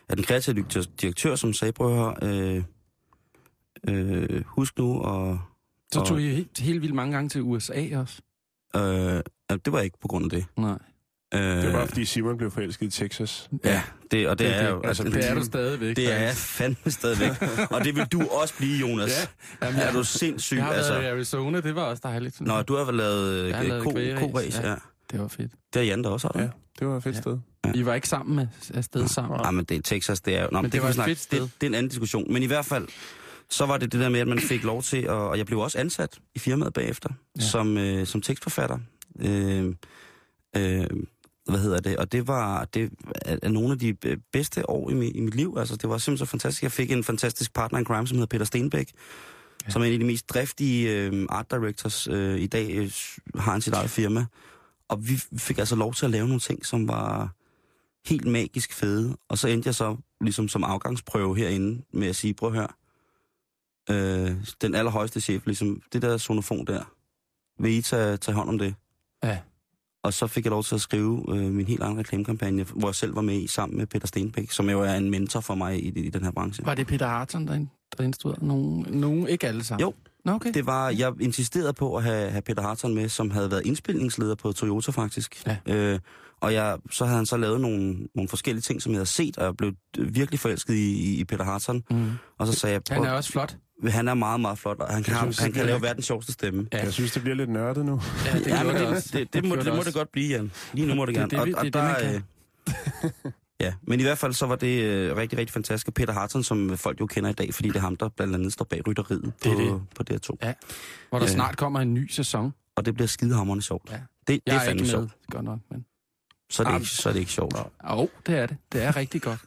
[SPEAKER 4] af den kreative direktør, direktør som sagde, prøv at høre, øh, øh, husk nu, og,
[SPEAKER 6] Så
[SPEAKER 4] Og-
[SPEAKER 6] tog I helt, helt vildt mange gange til USA også.
[SPEAKER 4] øh, altså, det var ikke på grund af det.
[SPEAKER 6] Nej.
[SPEAKER 4] Øh,
[SPEAKER 5] Det var, fordi Simon blev forelsket i Texas.
[SPEAKER 4] Ja, det, og det,
[SPEAKER 5] Det-
[SPEAKER 4] er
[SPEAKER 5] det-
[SPEAKER 4] jo...
[SPEAKER 5] altså,
[SPEAKER 6] Det er du stadigvæk.
[SPEAKER 4] Det er jeg
[SPEAKER 6] faktisk.
[SPEAKER 4] fandme stadigvæk. og det vil du også blive, Jonas.
[SPEAKER 6] Ja. Jamen,
[SPEAKER 4] Jamen, er
[SPEAKER 6] jeg-
[SPEAKER 4] du sindssyg?
[SPEAKER 6] Jeg har
[SPEAKER 4] altså.
[SPEAKER 6] været i Arizona, det var også dejligt.
[SPEAKER 4] Nå, du har vel lavet, øh,
[SPEAKER 6] Jeg har lavet
[SPEAKER 4] ko,
[SPEAKER 6] kvægræs,
[SPEAKER 4] ko-ræs, ja.
[SPEAKER 6] ja.
[SPEAKER 4] ja.
[SPEAKER 6] Det var fedt.
[SPEAKER 4] Det har Jan da også, har du?
[SPEAKER 5] Ja.
[SPEAKER 4] Ja.
[SPEAKER 5] Det var et fedt
[SPEAKER 6] Ja.
[SPEAKER 5] sted.
[SPEAKER 6] I var ikke sammen med afsted sammen.
[SPEAKER 4] Nej, Ah, men det er Texas, det er jo... Nå, men det,
[SPEAKER 6] det
[SPEAKER 4] kan
[SPEAKER 6] var
[SPEAKER 4] vi
[SPEAKER 6] et
[SPEAKER 4] snakke.
[SPEAKER 6] fedt sted.
[SPEAKER 4] Det, det, er en anden diskussion. Men i hvert fald, så var det det der med, at man fik lov til, at, og jeg blev også ansat i firmaet bagefter, ja.
[SPEAKER 6] Ja.
[SPEAKER 4] som, øh, som tekstforfatter. Øh, øh, hvad hedder det? Og det var det er, er nogle af de øh, bedste år i, mi, i mit liv. Altså, det var simpelthen så fantastisk. Jeg fik en fantastisk partner i crime, som hedder Peter Stenbæk, ja. som er en af de mest driftige øh, art directors øh, i dag. Øh, s- har han sit eget firma. Og vi fik altså lov til at lave nogle ting, som var helt magisk fede. Og så endte jeg så ligesom som afgangsprøve herinde med at sige, prøv at høre, øh, den allerhøjeste chef, ligesom det der sonofon der, vil I tage, tage hånd om det?
[SPEAKER 6] Ja.
[SPEAKER 4] Og så fik jeg lov til at skrive øh, min helt egen reklamekampagne, hvor jeg selv var med i sammen med Peter Stenbæk, som jo er en mentor for mig i, i den her branche.
[SPEAKER 6] Var det Peter Harton, der, ind- der instruerede nogen? Nogen, ikke alle sammen?
[SPEAKER 4] Jo.
[SPEAKER 6] Nå, okay.
[SPEAKER 4] Det var, jeg insisterede på at have, have Peter Harton med, som havde været indspilningsleder på Toyota faktisk. Ja. Øh, og jeg, så havde han så lavet nogle, nogle forskellige ting, som jeg havde set, og jeg blev virkelig forelsket i, i- i Peter Harton.
[SPEAKER 6] Mm.
[SPEAKER 4] Og så sagde jeg,
[SPEAKER 6] Han
[SPEAKER 4] prøv-
[SPEAKER 6] er også flot.
[SPEAKER 4] han er meget, meget flot, og han kan,
[SPEAKER 5] Jeg synes,
[SPEAKER 4] han, han
[SPEAKER 5] det
[SPEAKER 4] kan
[SPEAKER 5] bliver-
[SPEAKER 4] lave verdens sjoveste stemme.
[SPEAKER 6] Ja.
[SPEAKER 5] Jeg synes, det bliver lidt nørdet nu.
[SPEAKER 6] Ja, det,
[SPEAKER 4] Ja, men
[SPEAKER 6] gjorde
[SPEAKER 4] det, det, det, må, det må det godt blive, Jan. Lige nu må det
[SPEAKER 6] Det er
[SPEAKER 4] gerne.
[SPEAKER 6] det, vi- det er det, man
[SPEAKER 4] øh, ja, men i hvert fald så var det øh, rigtig, rigtig fantastisk. Og Peter Harton, som folk jo kender i dag, fordi det er ham, der blandt andet står bag rytteriet
[SPEAKER 6] Det er
[SPEAKER 4] på,
[SPEAKER 6] det.
[SPEAKER 4] på DR2.
[SPEAKER 6] Ja. Hvor der
[SPEAKER 4] Ja.
[SPEAKER 6] snart kommer en ny sæson.
[SPEAKER 4] Og det bliver skidehammerende sjovt.
[SPEAKER 6] Ja.
[SPEAKER 4] Det, det
[SPEAKER 6] Jeg
[SPEAKER 4] er
[SPEAKER 6] er, ikke
[SPEAKER 4] fandme
[SPEAKER 6] med,
[SPEAKER 4] sjovt.
[SPEAKER 6] godt nok. Men...
[SPEAKER 4] Så er det,
[SPEAKER 5] Ah,
[SPEAKER 4] ikke, så er det ikke sjovt.
[SPEAKER 6] Jo, oh, det er det. Det er rigtig godt.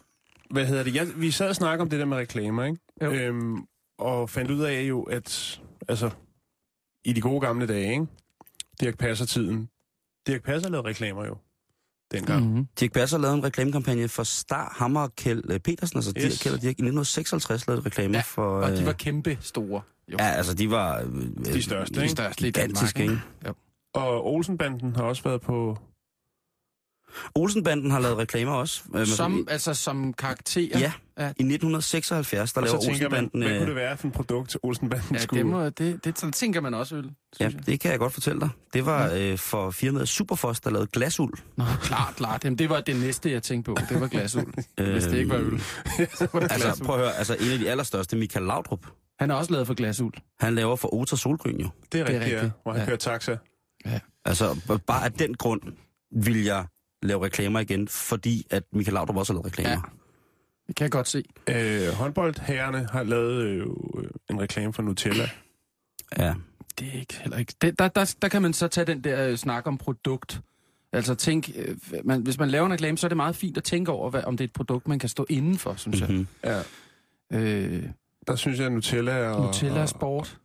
[SPEAKER 5] Hvad hedder det? Jeg, vi sad og snakkede om det der med reklamer, ikke?
[SPEAKER 6] Jo.
[SPEAKER 5] Øhm, og fandt ud af jo, at altså, i de gode gamle dage, ikke? Dirk Passer-tiden. Dirk Passer lavede reklamer jo, dengang. Mm.
[SPEAKER 6] Mm-hmm.
[SPEAKER 4] Dirk Passer lavede en reklamekampagne for Star, Hammer og Kjeld øh, Petersen, altså yes.
[SPEAKER 5] Yes.
[SPEAKER 4] Dirk, Kjeld og Dirk, i 1956 lavede reklamer
[SPEAKER 6] Ja,
[SPEAKER 4] for...
[SPEAKER 6] Og de
[SPEAKER 4] øh,
[SPEAKER 6] var kæmpe store. Jo,
[SPEAKER 4] Ja, altså de var... Øh,
[SPEAKER 5] De største,
[SPEAKER 6] de
[SPEAKER 5] ikke?
[SPEAKER 6] største i Danmark.
[SPEAKER 4] Gigantisk, ikke?
[SPEAKER 6] Jo.
[SPEAKER 5] Og Olsenbanden har også været på...
[SPEAKER 4] Olsenbanden har lavet reklamer også. øh, men-
[SPEAKER 6] Som, altså som karakter?
[SPEAKER 4] Ja,
[SPEAKER 6] Ja.
[SPEAKER 4] i 1976, der
[SPEAKER 5] Og
[SPEAKER 4] laver
[SPEAKER 5] så tænker man,
[SPEAKER 4] Olsenbanden...
[SPEAKER 5] hvad
[SPEAKER 4] øh,
[SPEAKER 5] kunne det være for et produkt, Olsenbanden
[SPEAKER 6] ja
[SPEAKER 5] skulle...
[SPEAKER 6] det, må, det, det, sådan tænker man også, øl.
[SPEAKER 4] Ja,
[SPEAKER 6] synes jeg. Mhm.
[SPEAKER 4] det kan jeg godt fortælle dig. Det var øh, for firmaet Superfos, der lavede glasul.
[SPEAKER 6] Nå, klart, klart. Jamen, det var det næste, jeg tænkte på. Det var glasuld. Hvis det ikke var øl. så var
[SPEAKER 4] øh,
[SPEAKER 6] det
[SPEAKER 4] Altså,
[SPEAKER 6] glasuld.
[SPEAKER 4] prøv at høre, altså en af de allerstørste, Michael Laudrup,
[SPEAKER 6] Han er også lavet for glasuld.
[SPEAKER 4] han laver for Ota Solgryn jo.
[SPEAKER 5] Det er
[SPEAKER 6] Det er
[SPEAKER 5] rigtigt, ja.
[SPEAKER 6] rigtigt.
[SPEAKER 5] Hvor han
[SPEAKER 6] Ja.
[SPEAKER 5] kører taxa.
[SPEAKER 4] Altså, b- bare af den grund vil jeg lave reklamer igen, fordi at Michael Laudrup også har lavet reklamer.
[SPEAKER 6] Ja. Det kan jeg godt se.
[SPEAKER 5] Øh, håndboldherrerne har lavet øh, en reklame for Nutella.
[SPEAKER 4] Ja. ja.
[SPEAKER 6] Det er ikke heller ikke. Det, der, der, der kan man så tage den der øh, snak om produkt. Altså tænk, øh, man, hvis man laver en reklame, så er det meget fint at tænke over, hvad, om det er et produkt, man kan stå indenfor, synes jeg.
[SPEAKER 4] Mm-hmm.
[SPEAKER 5] Ja.
[SPEAKER 6] Øh,
[SPEAKER 5] Der synes jeg, at Nutella og...
[SPEAKER 6] Nutella
[SPEAKER 5] og,
[SPEAKER 6] Sport.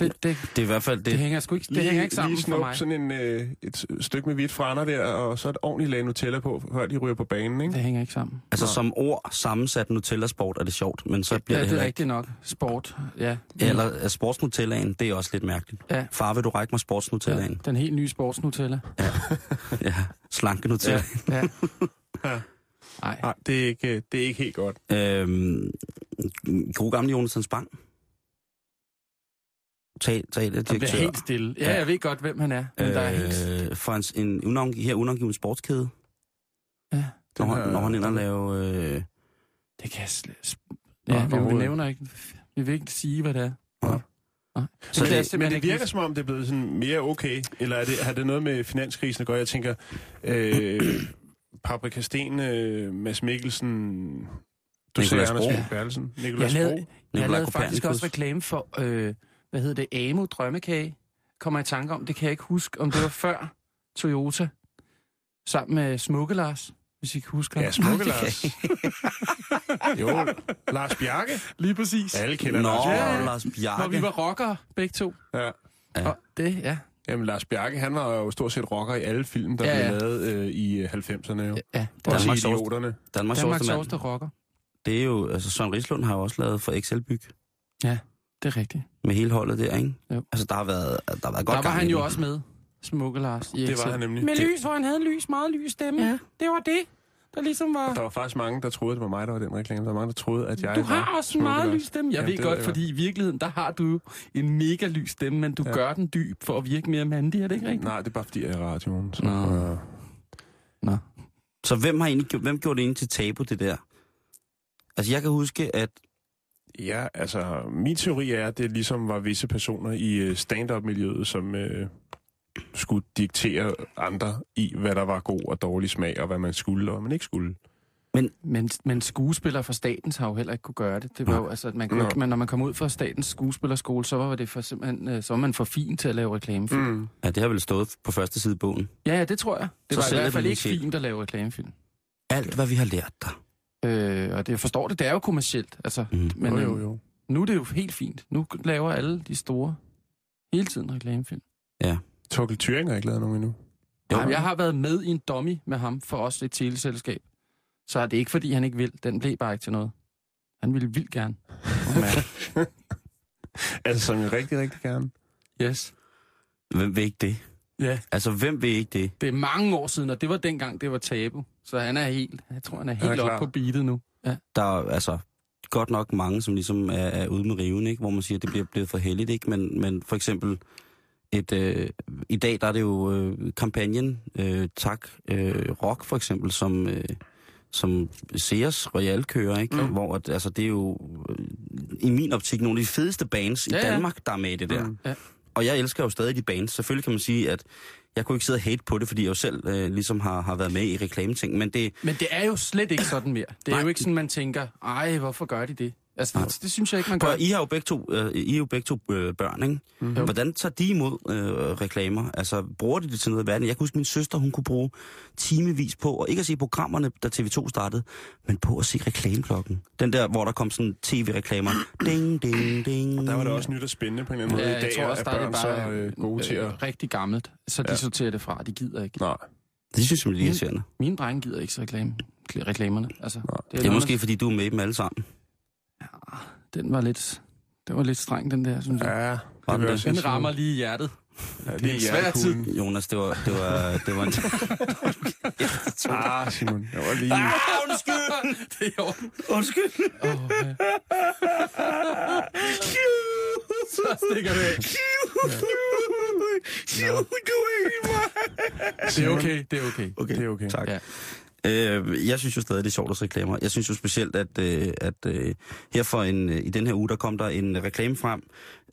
[SPEAKER 6] det, det,
[SPEAKER 4] Det er i hvert fald det.
[SPEAKER 6] det hænger sgu ikke, det
[SPEAKER 5] Lige-
[SPEAKER 6] hænger ikke sammen
[SPEAKER 5] lige
[SPEAKER 6] for
[SPEAKER 5] snup
[SPEAKER 6] mig.
[SPEAKER 5] sådan en, øh, et stykke med hvidt franer der, og så et ordentligt lag Nutella på, før de ryger på banen, ikke?
[SPEAKER 6] Det hænger ikke sammen.
[SPEAKER 4] Altså som ord sammensat Nutella Sport er det sjovt, men så bliver
[SPEAKER 6] Ja,
[SPEAKER 4] det
[SPEAKER 6] det er
[SPEAKER 4] heller ikke.
[SPEAKER 6] rigtigt nok. Sport, ja.
[SPEAKER 4] Eller øh, sportsnutellaen, det er også lidt mærkeligt.
[SPEAKER 6] Ja.
[SPEAKER 4] Far, vil du række mig
[SPEAKER 6] Ja,
[SPEAKER 4] sportsnutellaen?
[SPEAKER 6] den helt nye sportsnutella.
[SPEAKER 4] Ja. ja. Slanke Nutella.
[SPEAKER 6] Ja. ja.
[SPEAKER 5] Ja.
[SPEAKER 6] Nej.
[SPEAKER 5] Nej, det er ikke, øh, det er ikke helt godt.
[SPEAKER 4] Ja. Øhm, god gamle Jonas Bang. Tag, tag det,
[SPEAKER 6] Han bliver
[SPEAKER 4] direktør.
[SPEAKER 6] helt stille. Ja,
[SPEAKER 4] Ja.
[SPEAKER 6] jeg ved godt, hvem han er. Men øh, der er helt...
[SPEAKER 4] øh, for en, en unavn, her unangiven sportskæde,
[SPEAKER 6] Ja,
[SPEAKER 4] når,
[SPEAKER 5] Den
[SPEAKER 4] han,
[SPEAKER 5] her-
[SPEAKER 4] når han ender og lave... Øh,
[SPEAKER 6] det kan jeg slet... sp-
[SPEAKER 5] Nå,
[SPEAKER 6] Ja, vi, vi
[SPEAKER 5] overhovedet.
[SPEAKER 6] nævner ikke... Vi vil ikke sige, hvad det er.
[SPEAKER 4] så
[SPEAKER 6] Men
[SPEAKER 4] det,
[SPEAKER 6] er
[SPEAKER 5] Men
[SPEAKER 6] simpelthen
[SPEAKER 5] det
[SPEAKER 6] ikke-
[SPEAKER 5] virker som om, det er blevet sådan mere okay. Eller er det, har det noget med finanskrisen at gøre? Jeg tænker, øh, Paprika Sten, øh, Mads Mikkelsen, du ser
[SPEAKER 4] Nicolas
[SPEAKER 5] Anders
[SPEAKER 4] Bro.
[SPEAKER 5] Fogh Bertelsen, Nicolas
[SPEAKER 6] Jeg
[SPEAKER 5] Bro.
[SPEAKER 6] lavede, jeg
[SPEAKER 4] Nikolaj
[SPEAKER 6] lavede faktisk
[SPEAKER 4] Kopernikus.
[SPEAKER 6] også reklame for, øh, hvad hedder det, Amo Drømmekage, kommer jeg i tanke om. Det kan jeg ikke huske, om det var før Toyota, sammen med Smukke Lars, hvis I kan huske ham.
[SPEAKER 5] Ja, Smukke Lars. jo, Lars Bjarke.
[SPEAKER 6] Lige præcis.
[SPEAKER 5] Alle
[SPEAKER 4] Nå,
[SPEAKER 5] kender Lars
[SPEAKER 4] ja.
[SPEAKER 5] Bjarke.
[SPEAKER 4] Lars Bjarke.
[SPEAKER 6] Når vi var rockere, begge to.
[SPEAKER 5] Ja.
[SPEAKER 4] Ja.
[SPEAKER 6] Og det, ja.
[SPEAKER 5] Jamen, Lars Bjarke, han var jo stort set rocker i alle film, der
[SPEAKER 6] Ja,
[SPEAKER 5] ja,
[SPEAKER 6] ja.
[SPEAKER 5] blev lavet øh, i øh, 90'erne. Jo.
[SPEAKER 6] ja.
[SPEAKER 5] Også
[SPEAKER 4] Danmarks
[SPEAKER 5] i Idioterne.
[SPEAKER 4] Danmarks
[SPEAKER 6] Danmarks
[SPEAKER 4] Danmark
[SPEAKER 6] sjoveste rocker.
[SPEAKER 4] Det er jo... Altså, Søren Rislund har jo også lavet for XL Byg
[SPEAKER 6] Det er rigtigt.
[SPEAKER 4] med hele holdet der, ikke?
[SPEAKER 6] Jo.
[SPEAKER 4] Altså, der har været, der har været godt
[SPEAKER 6] Der var
[SPEAKER 4] gang i
[SPEAKER 6] han
[SPEAKER 4] den.
[SPEAKER 6] jo også med, Smukke Lars. I
[SPEAKER 5] Det
[SPEAKER 6] Excel.
[SPEAKER 5] var han nemlig.
[SPEAKER 6] Med
[SPEAKER 5] Det-
[SPEAKER 6] lys, hvor han havde lys, meget lys stemme. Ja. Det var det, der ligesom var...
[SPEAKER 5] Der var faktisk mange, der troede, det var mig, der var den reklame. Der var mange, der troede, at jeg
[SPEAKER 6] Du
[SPEAKER 5] var
[SPEAKER 6] har også en
[SPEAKER 5] Smukke
[SPEAKER 6] meget
[SPEAKER 5] Lars.
[SPEAKER 6] lys stemme. Jeg
[SPEAKER 5] Jamen,
[SPEAKER 6] Jamen, ved
[SPEAKER 5] det ved
[SPEAKER 6] godt,
[SPEAKER 5] jeg
[SPEAKER 6] fordi i virkeligheden, der har du jo en mega lys stemme, men du
[SPEAKER 5] Ja.
[SPEAKER 6] ja. gør den dyb for at virke mere mandig, er det ikke rigtigt?
[SPEAKER 5] Nej, det er bare fordi, jeg er i radioen. Så,
[SPEAKER 6] Nå.
[SPEAKER 5] øh,
[SPEAKER 6] Nå.
[SPEAKER 4] Så hvem har egentlig, gjort- hvem gjorde det egentlig til tabu, det der? Altså, jeg kan huske, at...
[SPEAKER 5] Ja, altså, min teori er, at det ligesom var visse personer i øh, stand-up-miljøet, som øh, skulle diktere andre i, hvad der var god og dårlig smag, og hvad man skulle og hvad man ikke skulle.
[SPEAKER 6] Men, men skuespillere fra statens har jo heller ikke kunne gøre det. Det var jo, altså, at man, kunne,
[SPEAKER 5] Nå.
[SPEAKER 6] man, når man kom ud fra statens skuespillerskole, så var, det for, simpelthen, øh, så var man for fin til at lave reklamefilm. Mm.
[SPEAKER 4] Ja, det har vel stået på første side af bogen.
[SPEAKER 6] Ja, ja, det tror jeg. Det
[SPEAKER 4] Så
[SPEAKER 6] så var i
[SPEAKER 4] sælger
[SPEAKER 6] hvert fald
[SPEAKER 4] den
[SPEAKER 6] ikke
[SPEAKER 4] lige
[SPEAKER 6] fint at lave reklamefilm.
[SPEAKER 4] Alt, hvad vi har lært dig.
[SPEAKER 6] Øh, og det, jeg forstår det, det er jo kommercielt. Altså,
[SPEAKER 4] Mhm.
[SPEAKER 6] mm. men,
[SPEAKER 5] jo, jo,
[SPEAKER 6] øh,
[SPEAKER 5] jo.
[SPEAKER 6] Nu er det jo helt fint. Nu laver alle de store hele tiden reklamefilm.
[SPEAKER 5] Torkel Thuring har ikke lavet nogen endnu.
[SPEAKER 4] Jo.
[SPEAKER 6] Jamen, jeg har været med i en dummy med ham for os et teleselskab. Så er det ikke, fordi han ikke vil. Den blev bare ikke til noget. Han ville vildt gerne.
[SPEAKER 5] Altså, som jeg rigtig, rigtig gerne.
[SPEAKER 6] Yes.
[SPEAKER 4] Hvem vil ikke det?
[SPEAKER 6] Ja.
[SPEAKER 4] Altså, hvem vil ikke det?
[SPEAKER 6] Det er mange år siden, og det var dengang, det var tabu. Så han er helt, jeg tror, han er
[SPEAKER 5] er
[SPEAKER 6] helt
[SPEAKER 5] klar.
[SPEAKER 6] oppe på beatet nu.
[SPEAKER 4] der er altså godt nok mange, som ligesom er, er ude med riven, ikke? hvor man siger, at det bliver blevet for heldigt. Ikke? Men, men for eksempel, et, øh, i dag der er det jo øh, kampagnen øh, Tak øh, Rock, for eksempel, som, øh, som Sears Royal kører, ikke? Mm. hvor at, altså, det er jo øh, i min optik nogle af de fedeste bands
[SPEAKER 6] Ja,
[SPEAKER 4] i
[SPEAKER 6] ja.
[SPEAKER 4] Danmark, der er med i det der.
[SPEAKER 5] Mm.
[SPEAKER 6] Ja.
[SPEAKER 4] Og jeg elsker jo stadig de bands. Selvfølgelig kan man sige, at jeg kunne ikke sidde og hate på det, fordi jeg jo selv øh, ligesom har, har været med i reklameting, men det,
[SPEAKER 6] Men det er jo slet ikke sådan mere. Det er
[SPEAKER 4] Nej.
[SPEAKER 6] jo ikke sådan, man tænker, ej, hvorfor gør de det? Altså, det, det synes jeg ikke, man
[SPEAKER 4] Prøv,
[SPEAKER 6] gør.
[SPEAKER 4] at- I har jo begge to, øh, I er jo begge to øh, børn, ikke?
[SPEAKER 5] Mhm.
[SPEAKER 4] Mm. Hvordan tager de imod øh, reklamer? Altså, bruger de det til noget i verden? Jeg kan huske, min søster, hun kunne bruge timevis på, og ikke at se programmerne, da TV2 startede, men på at se reklameklokken. Den der, hvor der kom sådan tv-reklamer. Ding, ding, ding.
[SPEAKER 5] Der var det også nyt og spændende på en
[SPEAKER 6] Øh,
[SPEAKER 5] eller anden måde. I dag er
[SPEAKER 6] det
[SPEAKER 5] børn så øh, gode til at...
[SPEAKER 6] rigtig gammelt. Så de sorterer det fra, de gider ikke.
[SPEAKER 5] Nej.
[SPEAKER 4] Det synes jeg
[SPEAKER 5] Mm.
[SPEAKER 4] er lidt irriterende.
[SPEAKER 6] Mine drenge gider ikke så reklame, reklamerne. Altså, det,
[SPEAKER 4] Det er måske, fordi du er med i dem alle sammen.
[SPEAKER 6] Den var lidt, den var lidt streng, den der, synes jeg.
[SPEAKER 5] Ja,
[SPEAKER 4] Var
[SPEAKER 5] det vil
[SPEAKER 4] den
[SPEAKER 5] jeg også
[SPEAKER 6] Den
[SPEAKER 5] sige.
[SPEAKER 6] rammer lige i hjertet.
[SPEAKER 5] Ja,
[SPEAKER 6] Det er en svær tid.
[SPEAKER 5] Mm.
[SPEAKER 4] Jonas, det var, det var, det var en...
[SPEAKER 5] Ah, Simon. Jeg var lige...
[SPEAKER 4] Ah, Undskyld!
[SPEAKER 6] Det er i orden.
[SPEAKER 4] Undskyld!
[SPEAKER 6] Åh, ja. Så stikker det af. Det er okay, det er okay.
[SPEAKER 4] Okay,
[SPEAKER 5] Det er okay.
[SPEAKER 4] tak.
[SPEAKER 6] Ja.
[SPEAKER 4] Øh, jeg synes jo stadig, det er sjovt at se reklamer. Jeg synes jo specielt, at, øh, at øh, her for en, øh, i den her uge, der kom der en reklame frem,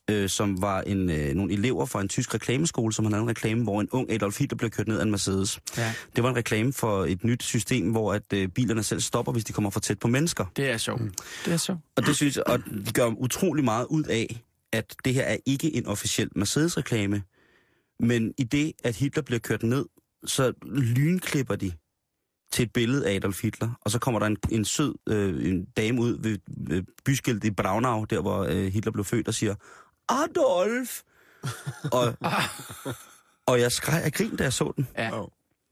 [SPEAKER 4] øh, som var en, øh, nogle elever fra en tysk reklameskole, som havde lavet en reklame, hvor en ung Adolf Hitler blev kørt ned af en Mercedes.
[SPEAKER 6] Ja.
[SPEAKER 4] Det var en reklame for et nyt system, hvor at øh, bilerne selv stopper, hvis de kommer for tæt på mennesker.
[SPEAKER 6] Det er sjovt.
[SPEAKER 5] Mm.
[SPEAKER 1] Det er så.
[SPEAKER 4] Og det synes jeg, og de gør utrolig meget ud af, at det her er ikke en officiel Mercedes-reklame, men i det, at Hitler bliver kørt ned, så lynklipper de til et billede af Adolf Hitler, og så kommer der en, en sød øh, en dame ud ved øh, byskiltet i Braunau, der hvor øh, Hitler blev født, og siger, Adolf! og, og jeg skreg af grin, da jeg så den.
[SPEAKER 6] Ja.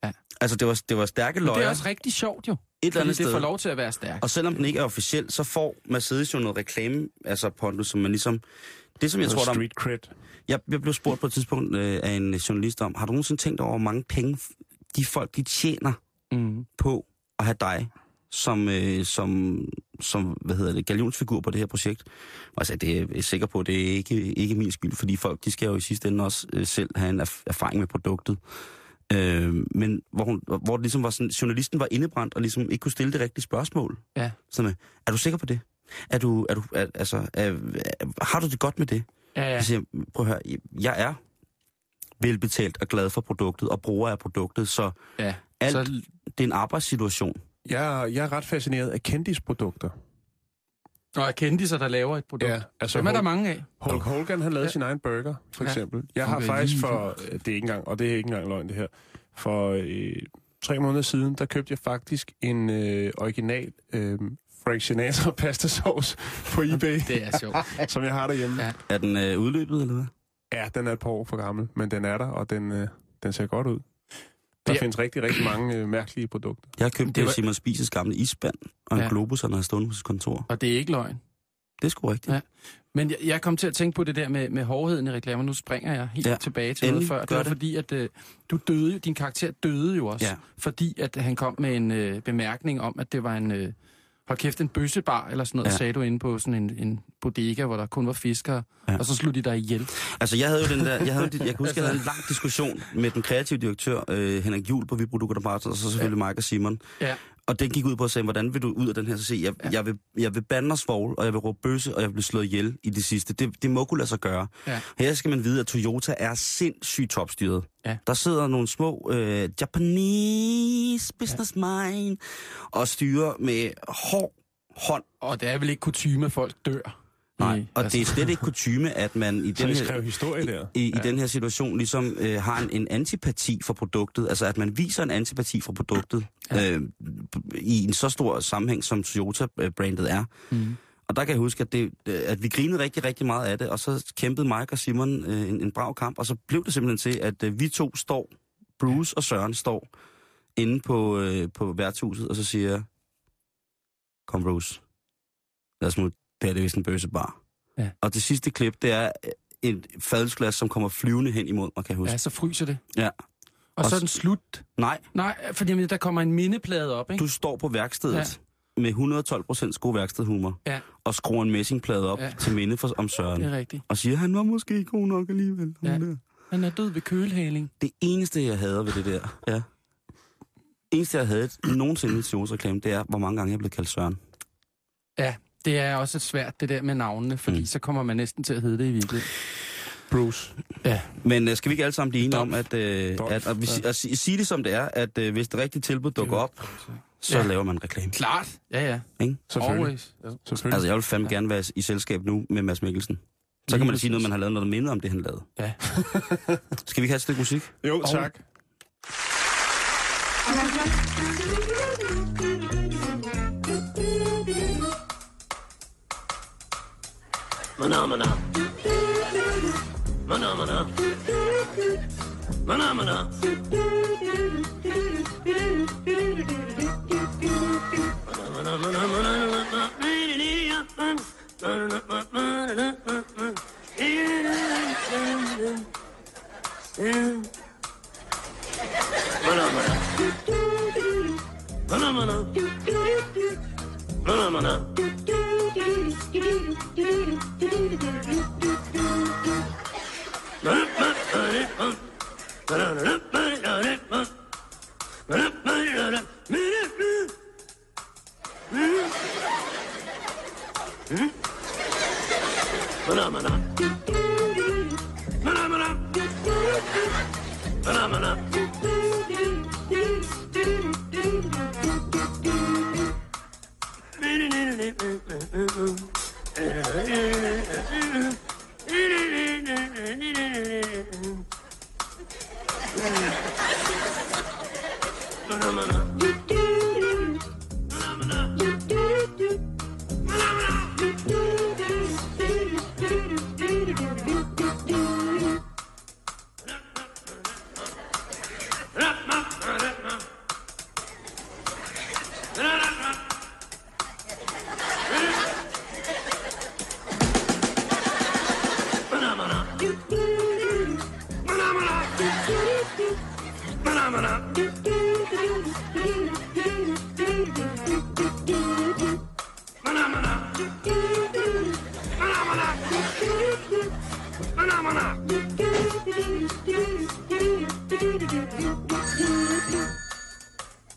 [SPEAKER 6] Ja.
[SPEAKER 4] Altså, det var, det var stærke
[SPEAKER 6] Men
[SPEAKER 4] løjer
[SPEAKER 6] det er også rigtig sjovt jo.
[SPEAKER 4] et eller
[SPEAKER 6] Fordi
[SPEAKER 4] andet
[SPEAKER 6] det
[SPEAKER 4] sted.
[SPEAKER 6] får lov til at være stærkt.
[SPEAKER 4] Og selvom den ikke er officiel, så får Mercedes jo noget reklame, altså pondus, som man ligesom... Det som jeg tror, der,
[SPEAKER 5] Street cred.
[SPEAKER 4] jeg, jeg blev spurgt på et tidspunkt øh, af en journalist om, har du nogensinde tænkt over, hvor mange penge de folk, de tjener
[SPEAKER 6] Mm.
[SPEAKER 4] på at have dig som, øh, som, som hvad hedder det, galionsfigur på det her projekt. Og jeg sagde, det er jeg sikker på, det er ikke, ikke min skyld, fordi folk, de skal jo i sidste ende også øh, selv have en erf- erfaring med produktet. Øh, men hvor, hun, hvor det ligesom var sådan, journalisten var indebrændt og ligesom ikke kunne stille det rigtige spørgsmål.
[SPEAKER 6] Ja.
[SPEAKER 4] Sådan med, er du sikker på det? Er du, er du, er, altså, er, er, har du det godt med det?
[SPEAKER 6] Ja, ja.
[SPEAKER 4] Jeg siger, prøv at høre, jeg er velbetalt og glad for produktet og bruger af produktet, så
[SPEAKER 6] ja.
[SPEAKER 4] alt,
[SPEAKER 6] Så,
[SPEAKER 4] så... det er en arbejdssituation.
[SPEAKER 5] Jeg, jeg er ret fascineret af kendisprodukter.
[SPEAKER 6] og kendisser, der laver et produkt. Ja.
[SPEAKER 5] altså
[SPEAKER 6] Dem er der
[SPEAKER 5] Hulk-
[SPEAKER 6] mange af.
[SPEAKER 5] Hulk Hogan, han lavede
[SPEAKER 6] Ja.
[SPEAKER 5] ja. sin egen burger, for
[SPEAKER 6] Ja.
[SPEAKER 5] eksempel. Jeg
[SPEAKER 6] Som
[SPEAKER 5] har
[SPEAKER 6] blev
[SPEAKER 5] faktisk
[SPEAKER 6] lige
[SPEAKER 5] for, øh, det er ikke engang, og det er ikke engang løgn det her, for øh, tre måneder siden, der købte jeg faktisk en øh, original øh, Frank Sinatra pastasauce på eBay,
[SPEAKER 6] Det er sjovt.
[SPEAKER 5] som jeg har derhjemme.
[SPEAKER 6] Ja.
[SPEAKER 5] Ja.
[SPEAKER 4] Er den øh, udløbet, eller hvad?
[SPEAKER 5] ja, den er et par år for gammel, men den er der, og den, øh, den ser godt ud. Der
[SPEAKER 6] Ja.
[SPEAKER 5] ja. findes rigtig, rigtig mange øh, mærkelige produkter.
[SPEAKER 4] Jeg har købt
[SPEAKER 6] Det
[SPEAKER 4] det
[SPEAKER 6] var-
[SPEAKER 4] var... Simon Spises gamle isband og en
[SPEAKER 6] Ja.
[SPEAKER 4] ja. globus, han har stående på sit kontor.
[SPEAKER 6] Og det er ikke løgn.
[SPEAKER 4] Det er sgu rigtigt.
[SPEAKER 6] Ja. Men jeg, jeg kom til at tænke på det der med, med hårdheden i reklamer. Nu springer jeg helt ja.
[SPEAKER 4] Ja.
[SPEAKER 6] tilbage til
[SPEAKER 4] Endelig,
[SPEAKER 6] noget før. Det
[SPEAKER 4] gør
[SPEAKER 6] var
[SPEAKER 4] det.
[SPEAKER 6] fordi, at øh, du døde, jo- din karakter døde jo også.
[SPEAKER 4] Ja.
[SPEAKER 6] Fordi at han kom med en øh, bemærkning om, at det var en... Øh, hold kæft, en bøssebar eller sådan noget, ja.
[SPEAKER 4] Ja.
[SPEAKER 6] sagde du inde på sådan en, en bodega, hvor der kun var fiskere, ja.
[SPEAKER 4] Ja.
[SPEAKER 6] og så slog de dig ihjel.
[SPEAKER 4] Altså, jeg havde jo den der... Jeg, havde, jeg kan huske, jeg havde en lang diskussion med den kreative direktør, øh, Henrik Juhl på Vibro Dugger og så selvfølgelig ja. Mike og Simon.
[SPEAKER 6] Ja.
[SPEAKER 4] Og den gik ud på at sige, hvordan vil du ud af den her? Så sige, jeg, ja. jeg, vil, jeg vil bande og svogle, og jeg vil råbe bøsse, og jeg vil blive slået ihjel i det sidste. Det, det må kunne lade sig gøre.
[SPEAKER 6] Ja.
[SPEAKER 4] Her skal man vide, at Toyota er sindssygt topstyret.
[SPEAKER 6] Ja.
[SPEAKER 4] Der sidder nogle små øh, Japanese businessmen og styrer med hård hånd.
[SPEAKER 6] Og det er vel ikke kutume, at folk dør. Øh,
[SPEAKER 4] Nej,
[SPEAKER 6] I-
[SPEAKER 4] og det er slet ikke kutyme, at man i
[SPEAKER 5] Så
[SPEAKER 4] den
[SPEAKER 5] jeg
[SPEAKER 4] her
[SPEAKER 5] skrev historie der.
[SPEAKER 4] i, ja. i den her situation ligesom øh, har en, en antipati for produktet, altså at man viser en antipati for produktet ja. øh, i en så stor sammenhæng, som Toyota-brandet er.
[SPEAKER 6] Mhm.
[SPEAKER 4] Mm. Og der kan jeg huske, at, det, øh, at vi grinede rigtig, rigtig meget af det, og så kæmpede Mike og Simon øh, en, en brav kamp, og så blev det simpelthen til, at øh, vi to står, Bruce og Søren står, inde på, øh, på værtshuset, og så siger jeg, kom Bruce, lad os smutte, det her det er vist en bøsebar.
[SPEAKER 6] Ja.
[SPEAKER 4] Og det sidste klip, det er et fadelsglas, som kommer flyvende hen imod mig, kan jeg huske.
[SPEAKER 6] Ja, så fryser det.
[SPEAKER 4] Ja.
[SPEAKER 6] Og så er
[SPEAKER 4] Og s-
[SPEAKER 6] den slut.
[SPEAKER 4] Nej,
[SPEAKER 6] Nej, fordi jamen, der kommer en mindeplade op, ikke?
[SPEAKER 4] du står på værkstedet ja. med 112 procents god værkstedhumor
[SPEAKER 6] Ja.
[SPEAKER 4] og skruer en messingplade op
[SPEAKER 6] Ja.
[SPEAKER 4] ja. til minde for, om Søren.
[SPEAKER 6] Det er rigtigt.
[SPEAKER 4] Og siger, han var måske ikke god nok alligevel.
[SPEAKER 6] Ja.
[SPEAKER 4] Ja.
[SPEAKER 6] Han er død ved kølehaling.
[SPEAKER 4] Det eneste, jeg hader ved det der, ja. eneste, jeg havde nogensinde i Sjovs-reklame, det er, hvor mange gange jeg blev kaldt Søren.
[SPEAKER 6] Ja, det er også svært, det der med navnene, fordi mm.
[SPEAKER 4] Mm.
[SPEAKER 6] så kommer man næsten til at hedde det i virkeligheden.
[SPEAKER 5] Bruce.
[SPEAKER 4] Men øh, skal vi ikke alle sammen blive enige om, at, øh,
[SPEAKER 5] Dolph,
[SPEAKER 4] at, at, vi si- at, si- sige det som det er, at øh, hvis det rigtige tilbud dukker op, så
[SPEAKER 6] Ja.
[SPEAKER 4] ja. laver man en reklame.
[SPEAKER 6] Klart. Ja, ja.
[SPEAKER 4] Ikke?
[SPEAKER 5] Selvfølgelig.
[SPEAKER 6] Always.
[SPEAKER 5] Selvfølgelig.
[SPEAKER 4] Altså, jeg vil fandme gerne være i selskab nu med Mads Mikkelsen. Så
[SPEAKER 6] Lige
[SPEAKER 4] kan man da sige
[SPEAKER 6] præcis.
[SPEAKER 4] noget, man har lavet, når der minder om det, han lavede.
[SPEAKER 6] Ja.
[SPEAKER 4] Skal vi ikke have et stykke musik?
[SPEAKER 5] Jo, tak.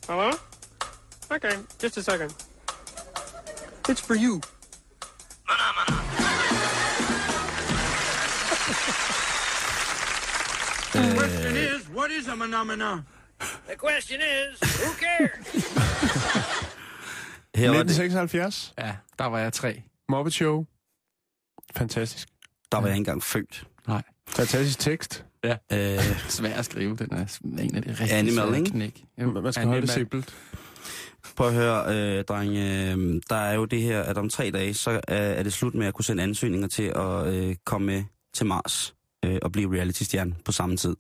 [SPEAKER 7] Hello? Okay, just a second. It's for you.
[SPEAKER 8] question is, what is a phenomena?
[SPEAKER 7] The question is, who cares?
[SPEAKER 4] Her var det,
[SPEAKER 5] 1976.
[SPEAKER 6] Ja, der var jeg tre.
[SPEAKER 5] Muppet Show. Fantastisk.
[SPEAKER 4] der var jeg ikke engang født.
[SPEAKER 6] Nej.
[SPEAKER 5] Fantastisk tekst.
[SPEAKER 4] Øh,
[SPEAKER 6] Svær at skrive, den er sm- en af de rigtig
[SPEAKER 4] Animal,
[SPEAKER 6] svære
[SPEAKER 4] ikke?
[SPEAKER 6] knæk.
[SPEAKER 5] Man skal holde det simpelt.
[SPEAKER 4] Prøv at høre, øh, dreng. Øh, der er jo det her, at om tre dage, så er, er det slut med at kunne sende ansøgninger til at øh, komme med til Mars øh, og blive reality-stjerne på samme tid.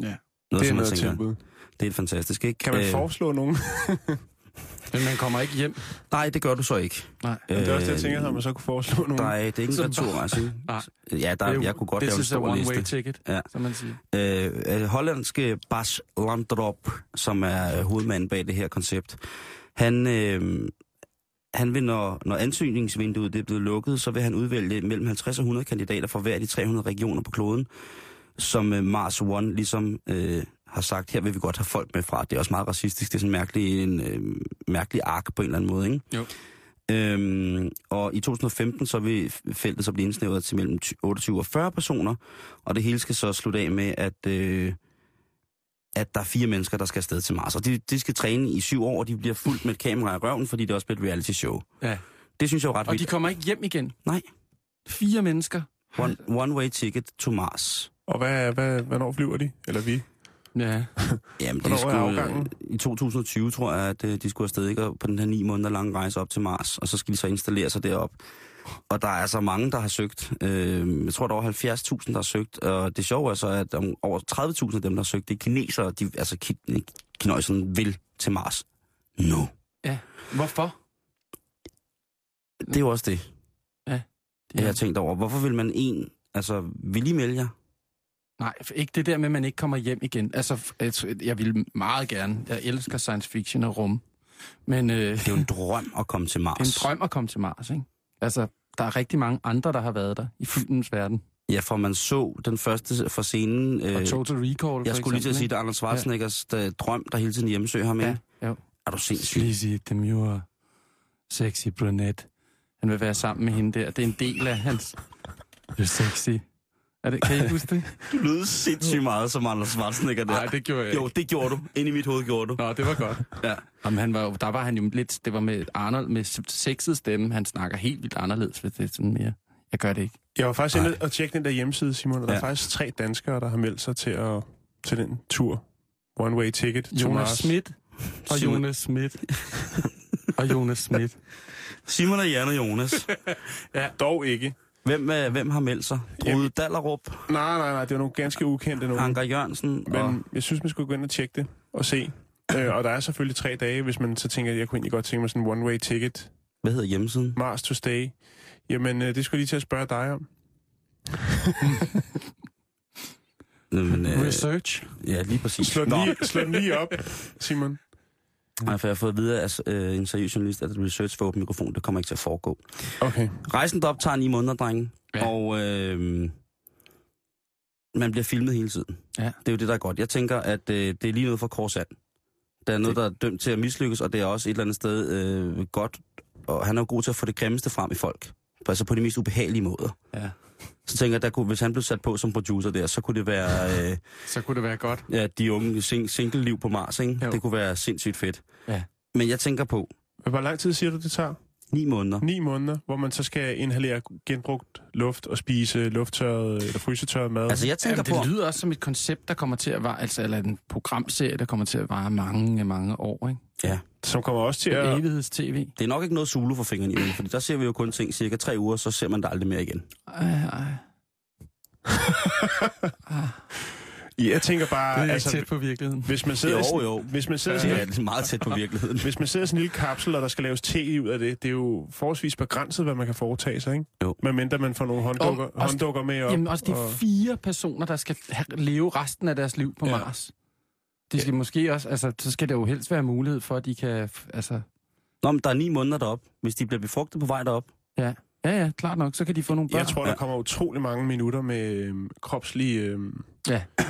[SPEAKER 6] Ja.
[SPEAKER 4] Noget,
[SPEAKER 5] Det er
[SPEAKER 4] som man
[SPEAKER 5] noget
[SPEAKER 4] tænker, Øh,
[SPEAKER 5] tilbud.
[SPEAKER 4] Det er fantastisk, ikke?
[SPEAKER 5] Kan man foreslå nogen?
[SPEAKER 6] Men man kommer ikke hjem.
[SPEAKER 4] Nej, det gør du så ikke.
[SPEAKER 6] Nej.
[SPEAKER 5] Men det er også det, jeg tænker, at man så kunne foreslå nogen.
[SPEAKER 4] Nej, det er ikke en returrejse.
[SPEAKER 6] Nej.
[SPEAKER 4] Ja, der, jeg kunne godt
[SPEAKER 6] det
[SPEAKER 4] lave en
[SPEAKER 6] synes jeg er
[SPEAKER 4] stor
[SPEAKER 6] one-way
[SPEAKER 4] liste.
[SPEAKER 6] ticket,
[SPEAKER 4] Ja.
[SPEAKER 6] ja. som man siger.
[SPEAKER 4] Øh, øh, hollandske Bas Landrop, som er øh, hovedmanden bag det her koncept, han, øh, han vil, når, når ansøgningsvinduet det er blevet lukket, så vil han udvælge mellem 50 og 100 kandidater fra hver af de 300 regioner på kloden, som øh, Mars One ligesom øh, har sagt, her vil vi godt have folk med fra. Det er også meget racistisk, det er sådan en mærkelig, en, øh, mærkelig ark på en eller anden måde, ikke?
[SPEAKER 6] Jo.
[SPEAKER 4] Øhm, og i 2015 så vil feltet så blive indsnævret til mellem ty- 28 og 40 personer, og det hele skal så slutte af med, at, øh, at der er fire mennesker, der skal afsted til Mars. Og de, de skal træne i syv år, og de bliver fuldt med et kamera i røven, fordi det er også bliver et reality show.
[SPEAKER 6] Ja.
[SPEAKER 4] Det synes jeg jo ret
[SPEAKER 6] Og de
[SPEAKER 4] vildt.
[SPEAKER 6] kommer ikke hjem igen.
[SPEAKER 4] Nej.
[SPEAKER 6] Fire mennesker.
[SPEAKER 4] One, one way ticket to Mars.
[SPEAKER 5] Og hvad, hvad, hvornår flyver de? Eller vi?
[SPEAKER 6] Ja.
[SPEAKER 4] Jamen, det
[SPEAKER 5] Hvornår er
[SPEAKER 4] skulle, øh,
[SPEAKER 5] afgangen?
[SPEAKER 4] I 2020 tror jeg, at øh, de skulle afsted ikke, Og på den her ni måneder lange rejse op til Mars, og så skal de så installere sig derop. Og der er så mange, der har søgt. Øh, jeg tror, der er over 70.000, der har søgt. Og det sjove er så, at om over 30.000 af dem, der har søgt, det er kinesere. De, altså, ki- kineserne vil til Mars. No.
[SPEAKER 6] Hvorfor?
[SPEAKER 4] Det er jo også det, jeg har
[SPEAKER 6] Ja.
[SPEAKER 4] tænkt over. Hvorfor vil man en... Altså, vil I melde jer?
[SPEAKER 6] Nej, for ikke det der med, at man ikke kommer hjem igen. Altså, f- altså, jeg vil meget gerne. Jeg elsker science fiction og rum. Men øh, det
[SPEAKER 4] Det er jo en drøm at komme til Mars.
[SPEAKER 6] er en drøm at komme til Mars, ikke? Altså, der er rigtig mange andre, der har været der i filmens verden.
[SPEAKER 4] Ja, for man så den første fra scenen...
[SPEAKER 6] Og
[SPEAKER 4] Øh,
[SPEAKER 6] Total Recall,
[SPEAKER 4] jeg
[SPEAKER 6] for
[SPEAKER 4] skulle lige til at sige, at
[SPEAKER 6] eksempel,
[SPEAKER 4] det er Arnold Schwarzeneggers ja. drøm, der hele tiden hjemsøger ham.
[SPEAKER 6] ikke?
[SPEAKER 4] Ja.
[SPEAKER 6] Ja, jo.
[SPEAKER 4] Er du sindssyg?
[SPEAKER 6] Sleazy, demure, sexy brunette. Han vil være sammen med hende der. Det er en del af hans... Det er sexy. Er det, kan I huske det?
[SPEAKER 4] Du lød sindssygt meget som Anders Schwarzenegger der.
[SPEAKER 6] Nej, det gjorde jeg
[SPEAKER 4] Jo,
[SPEAKER 6] ikke.
[SPEAKER 4] det gjorde du. Inde i mit hoved gjorde du.
[SPEAKER 6] Nå, det var godt.
[SPEAKER 4] Ja.
[SPEAKER 6] Jamen, han var jo, der var han jo lidt... Det var med Arnold med s- sexet stemme. Han snakker helt vildt anderledes, hvis det er sådan mere... Jeg gør det ikke.
[SPEAKER 5] Jeg var faktisk inde og tjekke den der hjemmeside, Simon, og der
[SPEAKER 4] Ja.
[SPEAKER 5] er faktisk tre danskere, der har meldt sig til, at, til den tur. One way ticket to
[SPEAKER 6] Jonas
[SPEAKER 5] Mars.
[SPEAKER 6] Schmidt og
[SPEAKER 4] Simon.
[SPEAKER 6] Jonas Schmidt. og Jonas Schmidt.
[SPEAKER 4] Simon og Jan og Jonas.
[SPEAKER 5] Dog ikke.
[SPEAKER 4] Hvem, øh, hvem har meldt sig? Drude Dallerup,
[SPEAKER 5] Nej, nej, nej, det var nogle ganske ukendte nogen.
[SPEAKER 4] Anker Jørgensen
[SPEAKER 5] Men
[SPEAKER 4] og...
[SPEAKER 5] jeg synes, man skulle gå ind og tjekke det og se. Øh, og der er selvfølgelig tre dage, hvis man så tænker, at jeg kunne egentlig godt tænke mig sådan en one-way ticket.
[SPEAKER 4] Hvad hedder hjemmesiden?
[SPEAKER 5] Mars to stay. Jamen, øh, det skulle jeg lige til at spørge dig om.
[SPEAKER 4] Men, øh,
[SPEAKER 6] Research.
[SPEAKER 4] ja, lige præcis.
[SPEAKER 5] Slå den, lige, slå den lige op, Simon.
[SPEAKER 4] Nej, for jeg har fået at vide af øh, en seriøs journalist, at research for åben mikrofon, det kommer ikke til at foregå.
[SPEAKER 5] Okay.
[SPEAKER 4] Rejsen derop tager ni måneder, drenge.
[SPEAKER 6] Ja.
[SPEAKER 4] Ja. Og øh, man bliver filmet hele tiden.
[SPEAKER 6] Ja.
[SPEAKER 4] Det er jo det, der er godt. Jeg tænker, at øh, det er lige noget for Korsand. Der er noget, der er dømt til at mislykkes, og det er også et eller andet sted øh, godt. Og han er jo god til at få det grimmeste frem i folk. Altså på de mest ubehagelige måder.
[SPEAKER 6] Ja.
[SPEAKER 4] Så tænker jeg, der kunne, hvis han blev sat på som producer der, så kunne det være øh,
[SPEAKER 6] Så kunne det være godt.
[SPEAKER 4] ja, de unge sing, single-liv på Mars, ikke?
[SPEAKER 6] Jo.
[SPEAKER 4] Det kunne være sindssygt fedt.
[SPEAKER 6] Ja.
[SPEAKER 4] Men jeg tænker på,
[SPEAKER 5] Hvor lang tid siger du, det tager?
[SPEAKER 4] ni måneder,
[SPEAKER 5] Ni måneder, hvor man så skal inhalere genbrugt luft og spise lufttørret eller frysetørret mad.
[SPEAKER 4] Altså, jeg tænker
[SPEAKER 6] Jamen,
[SPEAKER 4] på...
[SPEAKER 6] det lyder også som et koncept, der kommer til at vare, altså eller en programserie, der kommer til at vare mange, mange år, ikke?
[SPEAKER 5] Som kommer også til
[SPEAKER 6] Ja.
[SPEAKER 5] at...
[SPEAKER 6] Evigheds-TV.
[SPEAKER 4] Det er nok ikke noget Zulu for fingrene i, for der ser vi jo kun ting cirka tre uger, så ser man det aldrig mere igen.
[SPEAKER 6] Ej, ej.
[SPEAKER 5] Jeg tænker bare, altså,
[SPEAKER 6] på virkeligheden.
[SPEAKER 5] hvis man sidder, i sådan-
[SPEAKER 4] jo.
[SPEAKER 5] Hvis man sidder, i
[SPEAKER 4] Det
[SPEAKER 5] sådan,
[SPEAKER 4] er altså meget tæt på virkeligheden.
[SPEAKER 5] hvis man sidder i sådan en lille kapsel, og der skal laves te ud af det, det er jo forholdsvis begrænset, hvad man kan foretage sig, ikke?
[SPEAKER 4] Jo.
[SPEAKER 5] Medmindre man får nogle hånddukker,
[SPEAKER 6] også-
[SPEAKER 5] hånddukker med op.
[SPEAKER 6] Jamen også de
[SPEAKER 5] og-
[SPEAKER 6] fire personer, der skal have, leve resten af deres liv på
[SPEAKER 5] Ja.
[SPEAKER 6] ja. Mars. De skal ja. måske også, altså, så skal der jo helst være mulighed for, at de kan, f- altså...
[SPEAKER 4] Nå, men der er ni måneder derop. Hvis de bliver befrugtet på vej derop,
[SPEAKER 6] Ja, ja, klart nok, så kan de få nogle børn.
[SPEAKER 5] Jeg tror, der
[SPEAKER 4] Ja.
[SPEAKER 5] kommer utrolig mange minutter med øhm, kropslige... Øhm,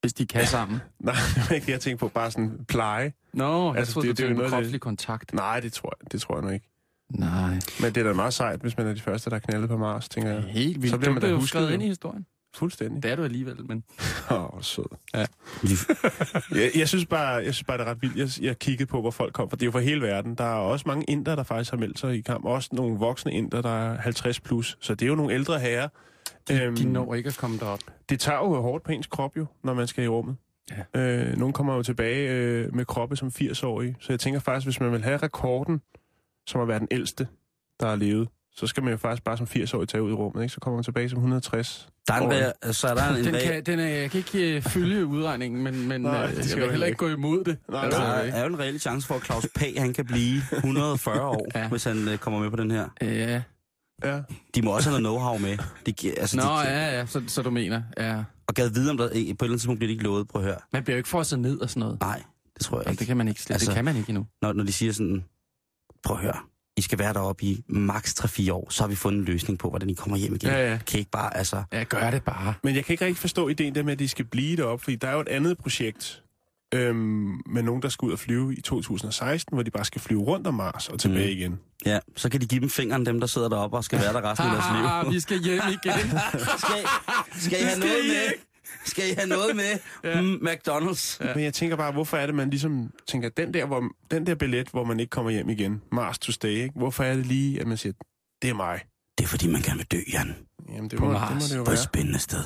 [SPEAKER 6] hvis de kan sammen.
[SPEAKER 5] nej, det var ikke det, jeg tænkte på. Bare sådan pleje.
[SPEAKER 6] Nå,
[SPEAKER 5] Altså,
[SPEAKER 6] jeg altså, troede,
[SPEAKER 5] det- det
[SPEAKER 6] det,
[SPEAKER 5] er
[SPEAKER 6] det,
[SPEAKER 5] jo
[SPEAKER 6] det
[SPEAKER 5] noget,
[SPEAKER 6] var
[SPEAKER 5] det-
[SPEAKER 6] kropslig kontakt.
[SPEAKER 5] Nej, det tror jeg, det tror jeg nu ikke.
[SPEAKER 6] Nej,
[SPEAKER 5] Men det er da meget sejt, hvis man er de første, der knaldede på Mars, tænker jeg.
[SPEAKER 6] helt vildt.
[SPEAKER 5] Så bliver
[SPEAKER 6] Så bliver
[SPEAKER 5] man da
[SPEAKER 6] du blev jo
[SPEAKER 5] husket,
[SPEAKER 6] skrevet
[SPEAKER 5] jo.
[SPEAKER 6] ind i historien.
[SPEAKER 5] Fuldstændig.
[SPEAKER 6] Det er du alligevel, men...
[SPEAKER 5] Åh, oh, sød. Ja. jeg, jeg, synes bare, jeg synes bare, det er ret vildt. Jeg, jeg kiggede på, hvor folk kom fra. Det er jo fra hele verden. Der er også mange indere, der faktisk har meldt sig i kamp. Også nogle voksne indere, der er 50 plus. Så det er jo nogle ældre herrer. Øhm,
[SPEAKER 6] De, de når ikke at komme derop.
[SPEAKER 5] Det tager jo hårdt på ens krop jo, når man skal i rummet. Ja. Øh, nogle kommer jo tilbage øh, med kroppe som 80-årige. Så jeg tænker faktisk, hvis man vil have rekorden, som at være den ældste, der har levet, så skal man jo faktisk bare som 80-årig tage ud i rummet. Ikke? Så kommer man tilbage som 160.
[SPEAKER 4] der er en,
[SPEAKER 5] Åh, ja.
[SPEAKER 4] vær- så er der en, en
[SPEAKER 6] Den
[SPEAKER 4] vær-
[SPEAKER 6] kan, den er, jeg kan ikke øh, følge udregningen, men, men
[SPEAKER 5] Nej,
[SPEAKER 6] Nej,
[SPEAKER 5] det
[SPEAKER 6] øh,
[SPEAKER 5] skal
[SPEAKER 6] jeg
[SPEAKER 5] du
[SPEAKER 6] vil heller ikke gå imod det.
[SPEAKER 5] Nej,
[SPEAKER 6] altså,
[SPEAKER 5] nej.
[SPEAKER 4] der
[SPEAKER 6] ikke?
[SPEAKER 4] er jo en reel chance for, at Claus P. han kan blive 140 år, ja.
[SPEAKER 6] Ja.
[SPEAKER 4] hvis han øh, kommer med på den her.
[SPEAKER 6] Ja.
[SPEAKER 5] Ja.
[SPEAKER 4] De må også have noget know-how med. De, gi- altså,
[SPEAKER 6] Nå,
[SPEAKER 4] de,
[SPEAKER 6] ja, ja, så, så du mener. Ja.
[SPEAKER 4] Og gad vide, om der, på et eller andet tidspunkt bliver de ikke lovet. Prøv at høre.
[SPEAKER 6] Man bliver jo ikke frosset ned og sådan noget.
[SPEAKER 4] Nej, det tror jeg
[SPEAKER 6] Altså, det
[SPEAKER 4] ikke.
[SPEAKER 6] kan man ikke slet.
[SPEAKER 4] Altså-
[SPEAKER 6] det kan man ikke endnu.
[SPEAKER 4] Når, når de siger sådan, prøv at høre, I skal være deroppe i maks 3-4 år, så har vi fundet en løsning på, hvordan I kommer hjem igen.
[SPEAKER 6] Ja, ja.
[SPEAKER 4] Kan I ikke bare, altså...
[SPEAKER 6] Ja, gør det bare.
[SPEAKER 5] Men jeg kan ikke rigtig forstå ideen der med, at de skal blive deroppe, fordi der er jo et andet projekt øhm, med nogen, der skal ud og flyve i 2016, hvor de bare skal flyve rundt om Mars og tilbage
[SPEAKER 4] Mm.
[SPEAKER 5] mm. igen.
[SPEAKER 4] Ja, så kan de give dem fingeren, dem der sidder deroppe og skal være der resten af deres liv.
[SPEAKER 6] Ah, vi skal hjem igen.
[SPEAKER 4] skal, I- skal I have noget med? Skal I have noget med? ja. mm, McDonald's.
[SPEAKER 5] Ja. Men jeg tænker bare, hvorfor er det, man ligesom tænker, den der, hvor, den der billet, hvor man ikke kommer hjem igen, Mars to stay, ikke? hvorfor er det lige, at man siger, det er mig?
[SPEAKER 4] Det er fordi, man gerne vil dø, Jan.
[SPEAKER 5] Jamen, det
[SPEAKER 6] På
[SPEAKER 5] må, det,
[SPEAKER 6] Mars.
[SPEAKER 5] må det jo
[SPEAKER 4] På et
[SPEAKER 5] være.
[SPEAKER 4] spændende sted.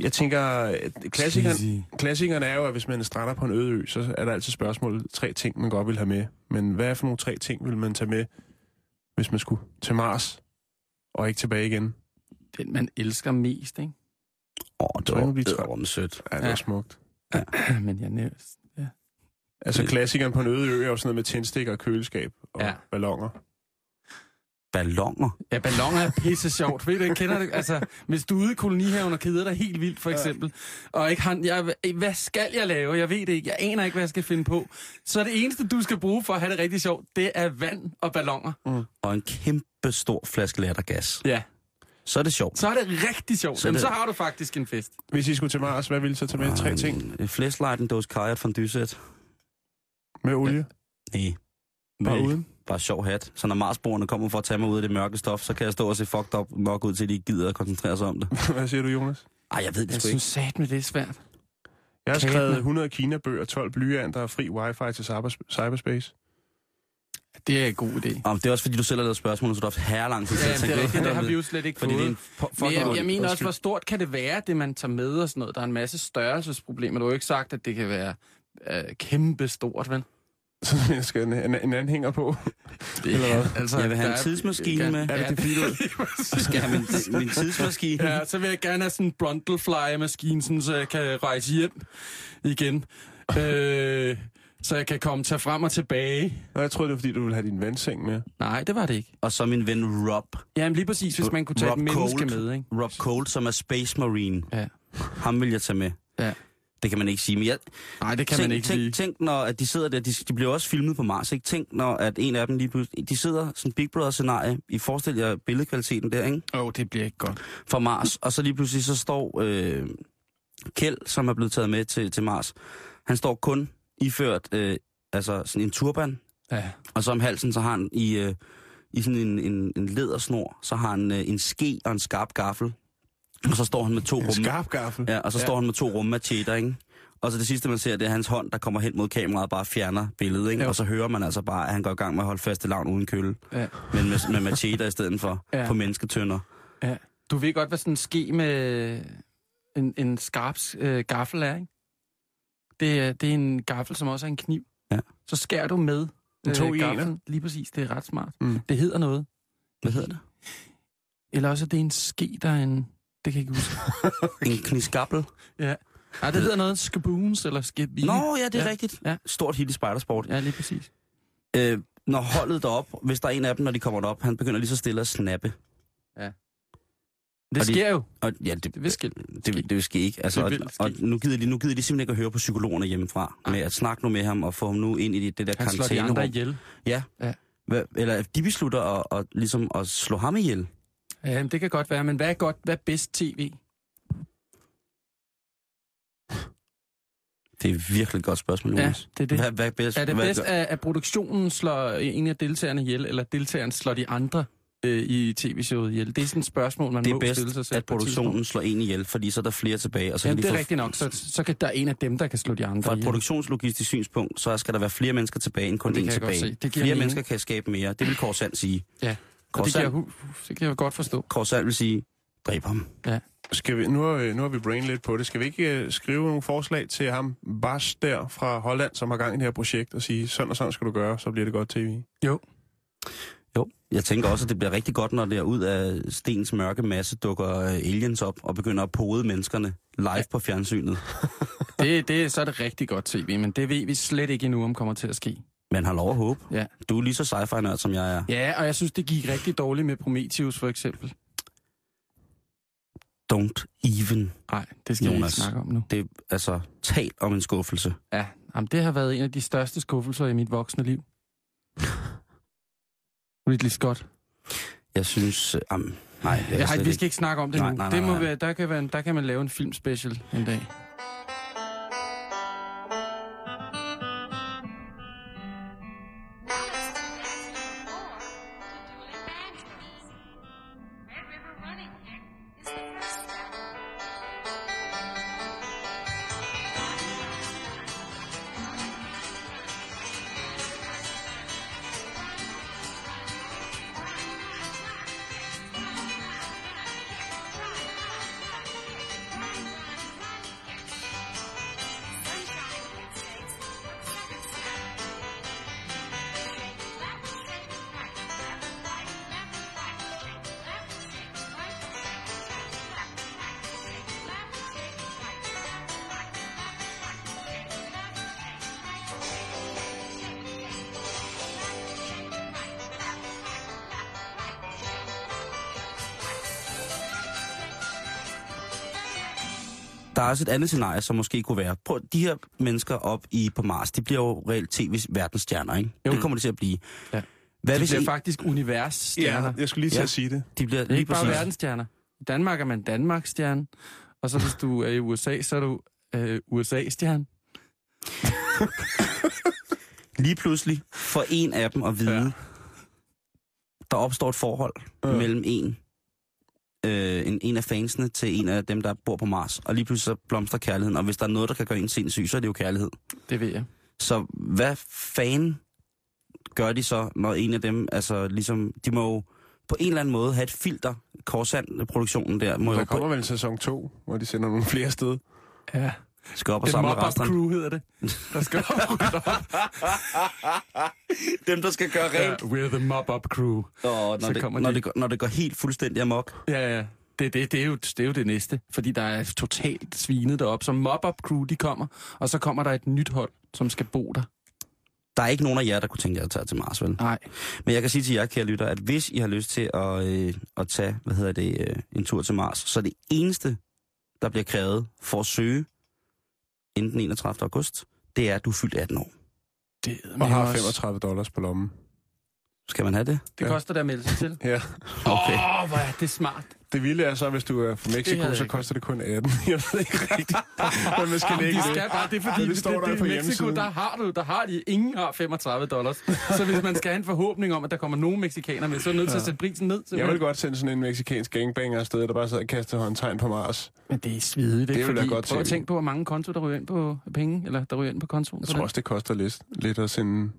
[SPEAKER 5] Jeg tænker, øh, at klassikeren, klassikeren er jo, at hvis man strander på en øde ø, så er der altid spørgsmål, tre ting, man godt vil have med. Men hvad er for nogle tre ting, vil man tage med, hvis man skulle til Mars og ikke tilbage igen?
[SPEAKER 6] Den, man elsker mest, ikke?
[SPEAKER 4] Åh, oh, det
[SPEAKER 5] Så
[SPEAKER 4] var
[SPEAKER 5] kan man blive træt.
[SPEAKER 4] edderommen sødt.
[SPEAKER 5] Ja, det er
[SPEAKER 6] Ja.
[SPEAKER 5] smukt.
[SPEAKER 6] Men jeg nævst.
[SPEAKER 5] Altså klassikeren på en øde ø er jo sådan noget med tændstikker, køleskab og ja.
[SPEAKER 6] Ja.
[SPEAKER 5] ballonger.
[SPEAKER 4] Ballonger.
[SPEAKER 6] Ja, balloner er pisse sjovt. Ved du, jeg kender det. Altså, hvis du er ude i kolonihaven og keder dig helt vildt, for eksempel, og ikke han, jeg, hvad skal jeg lave? Jeg ved det ikke. Jeg aner ikke, hvad jeg skal finde på. Så det eneste, du skal bruge for at have det rigtig sjovt, det er vand og balloner.
[SPEAKER 4] Og en kæmpe stor flaske lattergas.
[SPEAKER 6] Ja.
[SPEAKER 4] Så er det sjovt.
[SPEAKER 6] Så er det rigtig sjovt.
[SPEAKER 4] Så
[SPEAKER 6] Så, Jamen,
[SPEAKER 4] det-
[SPEAKER 6] så har du faktisk en fest.
[SPEAKER 5] Hvis I skulle til Mars, hvad ville I så tage med? Tre ting
[SPEAKER 4] En flashlight, en dåse kajat fra en dysæt.
[SPEAKER 5] med olie
[SPEAKER 4] Nej.
[SPEAKER 5] og
[SPEAKER 4] Vel.
[SPEAKER 5] uden.
[SPEAKER 4] Bare sjov hat. Så når marsborgerne kommer for at tage mig ud af det mørke stof, så kan jeg stå og se fucked up nok ud til, at de ikke gider at koncentrere sig om det.
[SPEAKER 5] hvad siger du, Jonas?
[SPEAKER 4] Ej, jeg ved det
[SPEAKER 6] Jeg
[SPEAKER 4] sgu
[SPEAKER 6] synes
[SPEAKER 4] ikke.
[SPEAKER 6] satme, det er svært.
[SPEAKER 5] Jeg har
[SPEAKER 6] Kagen.
[SPEAKER 5] skrevet 100 Kina-bøger, 12 blyanter og fri wifi til cyber- cyberspace.
[SPEAKER 6] Det er en god idé.
[SPEAKER 4] Om det er også fordi, du selv har lavet spørgsmål, så du har haft herrelang tid til
[SPEAKER 6] Ja,
[SPEAKER 4] at
[SPEAKER 6] det
[SPEAKER 4] tænke
[SPEAKER 6] er rigtigt.
[SPEAKER 4] ud.
[SPEAKER 6] Det har vi jo slet ikke
[SPEAKER 4] Fordi
[SPEAKER 6] fået.
[SPEAKER 4] det er en po-
[SPEAKER 6] Men jeg,
[SPEAKER 4] fucking-
[SPEAKER 6] jeg mener også,
[SPEAKER 4] Undskyld.
[SPEAKER 6] hvor stort kan det være, det man tager med og sådan noget? Der er en masse størrelsesproblemer. Du har jo ikke sagt, at det kan være øh, kæmpe stort, vel?
[SPEAKER 5] Så jeg skal en, en, en anhænger på.
[SPEAKER 6] Det,
[SPEAKER 5] Eller hvad?
[SPEAKER 6] altså,
[SPEAKER 4] Jeg vil have en
[SPEAKER 6] der er-
[SPEAKER 4] tidsmaskine
[SPEAKER 6] gerne-
[SPEAKER 4] med.
[SPEAKER 5] Er det det fine ud?
[SPEAKER 4] Så skal jeg have min, min tidsmaskine.
[SPEAKER 6] Ja, så vil jeg gerne have sådan en Brundtlefly-maskine, sådan, så jeg kan rejse hjem igen. Øh, så jeg kan komme tage frem og tilbage.
[SPEAKER 5] Nå, jeg troede, det var, fordi du ville have din vandseng med.
[SPEAKER 6] Nej, det var det ikke.
[SPEAKER 4] Og så min ven Rob.
[SPEAKER 6] Jamen lige præcis, hvis man kunne tage
[SPEAKER 4] Rob
[SPEAKER 6] et menneske
[SPEAKER 4] Colt.
[SPEAKER 6] med, ikke?
[SPEAKER 4] Rob Cole, som er Space Marine.
[SPEAKER 6] Ja.
[SPEAKER 4] Ham vil jeg tage med.
[SPEAKER 6] Ja.
[SPEAKER 4] Det kan man ikke sige. Men jeg,
[SPEAKER 6] Nej, det kan
[SPEAKER 4] tænk,
[SPEAKER 6] man ikke
[SPEAKER 4] tænk,
[SPEAKER 6] lige.
[SPEAKER 4] Tænk, når at de sidder der, de, de bliver også filmet på Mars, ikke? Tænk, når at en af dem lige pludselig... De sidder sådan Big Brother-scenarie. I forestil jer billedkvaliteten der, ikke?
[SPEAKER 6] Åh, oh, det bliver ikke godt.
[SPEAKER 4] Fra Mars. Og så lige pludselig så står øh, Kjeld, som er blevet taget med til, til Mars. Han står kun iført øh, altså sådan en turban.
[SPEAKER 6] Ja.
[SPEAKER 4] Og så om halsen, så har han i, øh, i sådan en, en, en ledersnor, så har han øh, en ske og en skarp gaffel. Og så står han med to
[SPEAKER 5] En
[SPEAKER 4] rumme.
[SPEAKER 5] skarp gaffel.
[SPEAKER 4] Ja, og så ja. står han med to rummacheter, ikke? Og så det sidste, man ser, det er hans hånd, der kommer hen mod kameraet og bare fjerner billedet, ikke?
[SPEAKER 6] Jo.
[SPEAKER 4] Og så hører man altså bare, at han går i gang med at holde fast i lavn uden kølle,
[SPEAKER 6] Ja.
[SPEAKER 4] men med, med macheter i stedet for,
[SPEAKER 6] Ja.
[SPEAKER 4] ja. på mennesketønder.
[SPEAKER 6] ja. Du ved godt, hvad sådan en ske med en, en skarp øh, gaffel er, ikke? Det er, det er en gaffel, som også er en kniv.
[SPEAKER 4] Ja.
[SPEAKER 6] Så skærer du med øh,
[SPEAKER 5] En to i ener.
[SPEAKER 6] Lige præcis, det er ret smart.
[SPEAKER 5] Mm.
[SPEAKER 6] Mm. Det hedder noget.
[SPEAKER 4] Hvad hedder det?
[SPEAKER 6] Eller også er det en ske, der er en... Det kan jeg ikke huske.
[SPEAKER 4] En kniskappel.
[SPEAKER 6] ja. Ej, det hedder noget skaboons eller skabine.
[SPEAKER 4] Nå, ja, det er
[SPEAKER 6] Ja.
[SPEAKER 4] ja. rigtigt.
[SPEAKER 6] Ja.
[SPEAKER 4] Ja. Stort hit i Spidersport.
[SPEAKER 6] Ja, lige præcis.
[SPEAKER 4] Øh, når holdet derop, hvis der er en af dem, når de kommer derop, han begynder lige så stille at snappe.
[SPEAKER 6] Det
[SPEAKER 4] Og de-
[SPEAKER 6] sker jo.
[SPEAKER 4] Og, ja, det,
[SPEAKER 6] Det vil ske.
[SPEAKER 4] Det, vil- det vil ske ikke. Altså,
[SPEAKER 6] Det
[SPEAKER 4] og,
[SPEAKER 6] vil ske.
[SPEAKER 4] og nu, gider de, nu gider de simpelthen ikke at høre på psykologerne hjemmefra. Med at snakke nu med ham og få ham nu ind i det, det der
[SPEAKER 6] Han slår de
[SPEAKER 4] karantænerum.
[SPEAKER 6] andre ihjel.
[SPEAKER 4] Hva- Eller de beslutter at, at, ligesom at slå ham ihjel.
[SPEAKER 6] Ja, jamen, det kan godt være, men hvad er godt, hvad er bedst tv?
[SPEAKER 4] Det er et virkelig godt spørgsmål,
[SPEAKER 6] Ja,
[SPEAKER 4] Jonas.
[SPEAKER 6] det er det.
[SPEAKER 4] Hvad, hvad er bedst?
[SPEAKER 6] Er det
[SPEAKER 4] hvad
[SPEAKER 6] bedst, at, at produktionen slår en af deltagerne ihjel, eller deltageren slår de andre øh, i tv-showet ihjel? Det er sådan et spørgsmål, man
[SPEAKER 4] det
[SPEAKER 6] må
[SPEAKER 4] er
[SPEAKER 6] stille sig
[SPEAKER 4] bedst,
[SPEAKER 6] selv.
[SPEAKER 4] at
[SPEAKER 6] på et tidspunkt.
[SPEAKER 4] produktionen slår en ihjel, fordi så er der flere tilbage. Og så kan
[SPEAKER 6] Jamen, det
[SPEAKER 4] de
[SPEAKER 6] er
[SPEAKER 4] få,
[SPEAKER 6] rigtigt nok. Så, så kan der er en af dem, der kan slå de andre
[SPEAKER 4] Fra et
[SPEAKER 6] ihjel.
[SPEAKER 4] produktionslogistisk synspunkt, så skal der være flere mennesker tilbage end kun
[SPEAKER 6] Det
[SPEAKER 4] én
[SPEAKER 6] kan jeg godt
[SPEAKER 4] tilbage.
[SPEAKER 6] se. Det
[SPEAKER 4] flere
[SPEAKER 6] giver mening.
[SPEAKER 4] mennesker kan skabe mere. Det vil Korsand sige.
[SPEAKER 6] Ja, og det kan, jeg,
[SPEAKER 4] Korsand,
[SPEAKER 6] hu- hu- det kan jeg godt forstå.
[SPEAKER 4] Korsand vil sige, dræb ham.
[SPEAKER 5] Skal vi, nu, har, øh, nu har vi brain lidt på det. Skal vi ikke øh, skrive nogle forslag til ham, Bas der fra Holland, som har gang i det her projekt, og sige, sådan og sådan skal du gøre, så bliver det godt tv.
[SPEAKER 4] Jo, jeg tænker også, at det bliver rigtig godt, når der ud af stens mørke masse dukker øh, aliens op og begynder at pode menneskerne live ja. på fjernsynet.
[SPEAKER 6] Det, det, så er det rigtig godt tv, men det ved vi slet ikke endnu, om kommer til at ske.
[SPEAKER 4] Man har lov at håbe.
[SPEAKER 6] Ja.
[SPEAKER 4] Du er lige så sci-fi-nørd, som jeg er.
[SPEAKER 6] Ja, og jeg synes, det gik rigtig dårligt med Prometheus, for eksempel.
[SPEAKER 4] Don't even.
[SPEAKER 6] Nej, det skal Jonas. vi
[SPEAKER 4] Jonas.
[SPEAKER 6] ikke snakke om nu.
[SPEAKER 4] Det er altså tal om en skuffelse.
[SPEAKER 6] Ja, jamen, det har været en af de største skuffelser i mit voksne liv. Ridley Scott.
[SPEAKER 4] Jeg synes... Øh, am, nej, jeg,
[SPEAKER 6] Jeg har,
[SPEAKER 4] slet
[SPEAKER 6] vi skal ikke snakke om det
[SPEAKER 4] Nej,
[SPEAKER 6] nu.
[SPEAKER 4] nej,
[SPEAKER 6] det
[SPEAKER 4] nej,
[SPEAKER 6] må
[SPEAKER 4] nej.
[SPEAKER 6] Være, der, kan være, en- der kan man lave en filmspecial en dag.
[SPEAKER 4] Der er også et andet scenarie, som måske kunne være... Prøv, de her mennesker op i på Mars, de bliver jo reelt tv-verdensstjerner, ikke? Jo. Det kommer det til at blive.
[SPEAKER 6] Ja.
[SPEAKER 4] Hvad
[SPEAKER 6] Det
[SPEAKER 4] hvis
[SPEAKER 6] bliver
[SPEAKER 4] en-
[SPEAKER 6] faktisk universstjerner. Ja,
[SPEAKER 5] jeg skulle lige til
[SPEAKER 4] Ja.
[SPEAKER 5] at sige det.
[SPEAKER 4] de bliver
[SPEAKER 6] det er
[SPEAKER 4] lige
[SPEAKER 6] ikke bare
[SPEAKER 4] præcis...
[SPEAKER 6] verdensstjerner. I Danmark er man Danmarksstjerne. Og så hvis du er i USA, så er du øh, USA-stjerne.
[SPEAKER 4] Lige pludselig får en af dem at vide, ja. der opstår et forhold ja. mellem en, øh, en, en af fansene til en af dem, der bor på Mars. Og lige pludselig så blomstrer kærligheden. Og hvis der er noget, der kan gøre en sindssyg, så er det jo kærlighed.
[SPEAKER 6] Det ved jeg.
[SPEAKER 4] Så hvad fanden gør de så, når en af dem, altså ligesom, de må jo på en eller anden måde have et filter, Korsand-produktionen der, må
[SPEAKER 5] Der
[SPEAKER 4] jo
[SPEAKER 5] kommer vel en sæson 2, hvor de sender nogle flere sted.
[SPEAKER 6] Ja.
[SPEAKER 4] skal op og
[SPEAKER 6] Et
[SPEAKER 4] samle
[SPEAKER 6] mob-up
[SPEAKER 4] resten.
[SPEAKER 6] crew hedder det. Der skal op.
[SPEAKER 4] Dem, der skal gøre
[SPEAKER 6] Ja, We're the mop-up crew.
[SPEAKER 4] Og når,
[SPEAKER 6] Så kommer
[SPEAKER 4] det, når,
[SPEAKER 6] de.
[SPEAKER 4] det, går- når det går helt fuldstændig amok,
[SPEAKER 6] Ja, ja. Det, det, det, er jo, det er jo det næste, fordi der er totalt svinet deroppe. Så mop-up crew, de kommer, og så kommer der et nyt hold, som skal bo der.
[SPEAKER 4] der er ikke nogen af jer, der kunne tænke jer at tage til Mars, vel?
[SPEAKER 6] Nej.
[SPEAKER 4] Men jeg kan sige til jer, kære lytter, at hvis I har lyst til at, øh, at tage, hvad hedder det, øh, en tur til Mars, så er det eneste, der bliver krævet for at søge inden den 31. august, det er, at du er fyldt 18 år.
[SPEAKER 6] Det,
[SPEAKER 5] Og har 35 dollars på lommen.
[SPEAKER 4] Skal man have det?
[SPEAKER 6] Det koster der at melde sig til.
[SPEAKER 5] Ja.
[SPEAKER 4] Okay.
[SPEAKER 6] Åh, oh, hvor er det smart.
[SPEAKER 5] Det vilde er så, hvis du er fra
[SPEAKER 6] havde
[SPEAKER 5] Mexico,
[SPEAKER 6] jeg
[SPEAKER 5] så
[SPEAKER 6] ikke.
[SPEAKER 5] koster det kun 18. Jeg ved ikke rigtigt, men man skal lægge det.
[SPEAKER 6] De skal bare, det er fordi,
[SPEAKER 5] Det
[SPEAKER 6] det,
[SPEAKER 5] står
[SPEAKER 6] det,
[SPEAKER 5] der
[SPEAKER 6] det,
[SPEAKER 5] på
[SPEAKER 6] i Mexico,
[SPEAKER 5] hjemmesiden.
[SPEAKER 6] der har du, der har de, ingen har 35 dollars. Så hvis man skal have en forhåbning om, at der kommer nogen mexikanere med, så er du nødt til at sætte prisen ned.
[SPEAKER 5] Jeg
[SPEAKER 6] simpelthen.
[SPEAKER 5] vil godt sende sådan en meksikansk gangbanger afsted, der bare sad og kastede håndtegn på Mars.
[SPEAKER 6] Men det er svidigt, ikke?
[SPEAKER 5] Det vil jeg
[SPEAKER 6] Fordi,
[SPEAKER 5] godt
[SPEAKER 6] prøv at
[SPEAKER 5] se.
[SPEAKER 6] tænke på, hvor mange konto, der ryger ind på penge, eller der ryger ind på kontoen.
[SPEAKER 5] Jeg
[SPEAKER 6] på
[SPEAKER 5] tror
[SPEAKER 6] den.
[SPEAKER 5] også, det koster lidt, lidt at sende...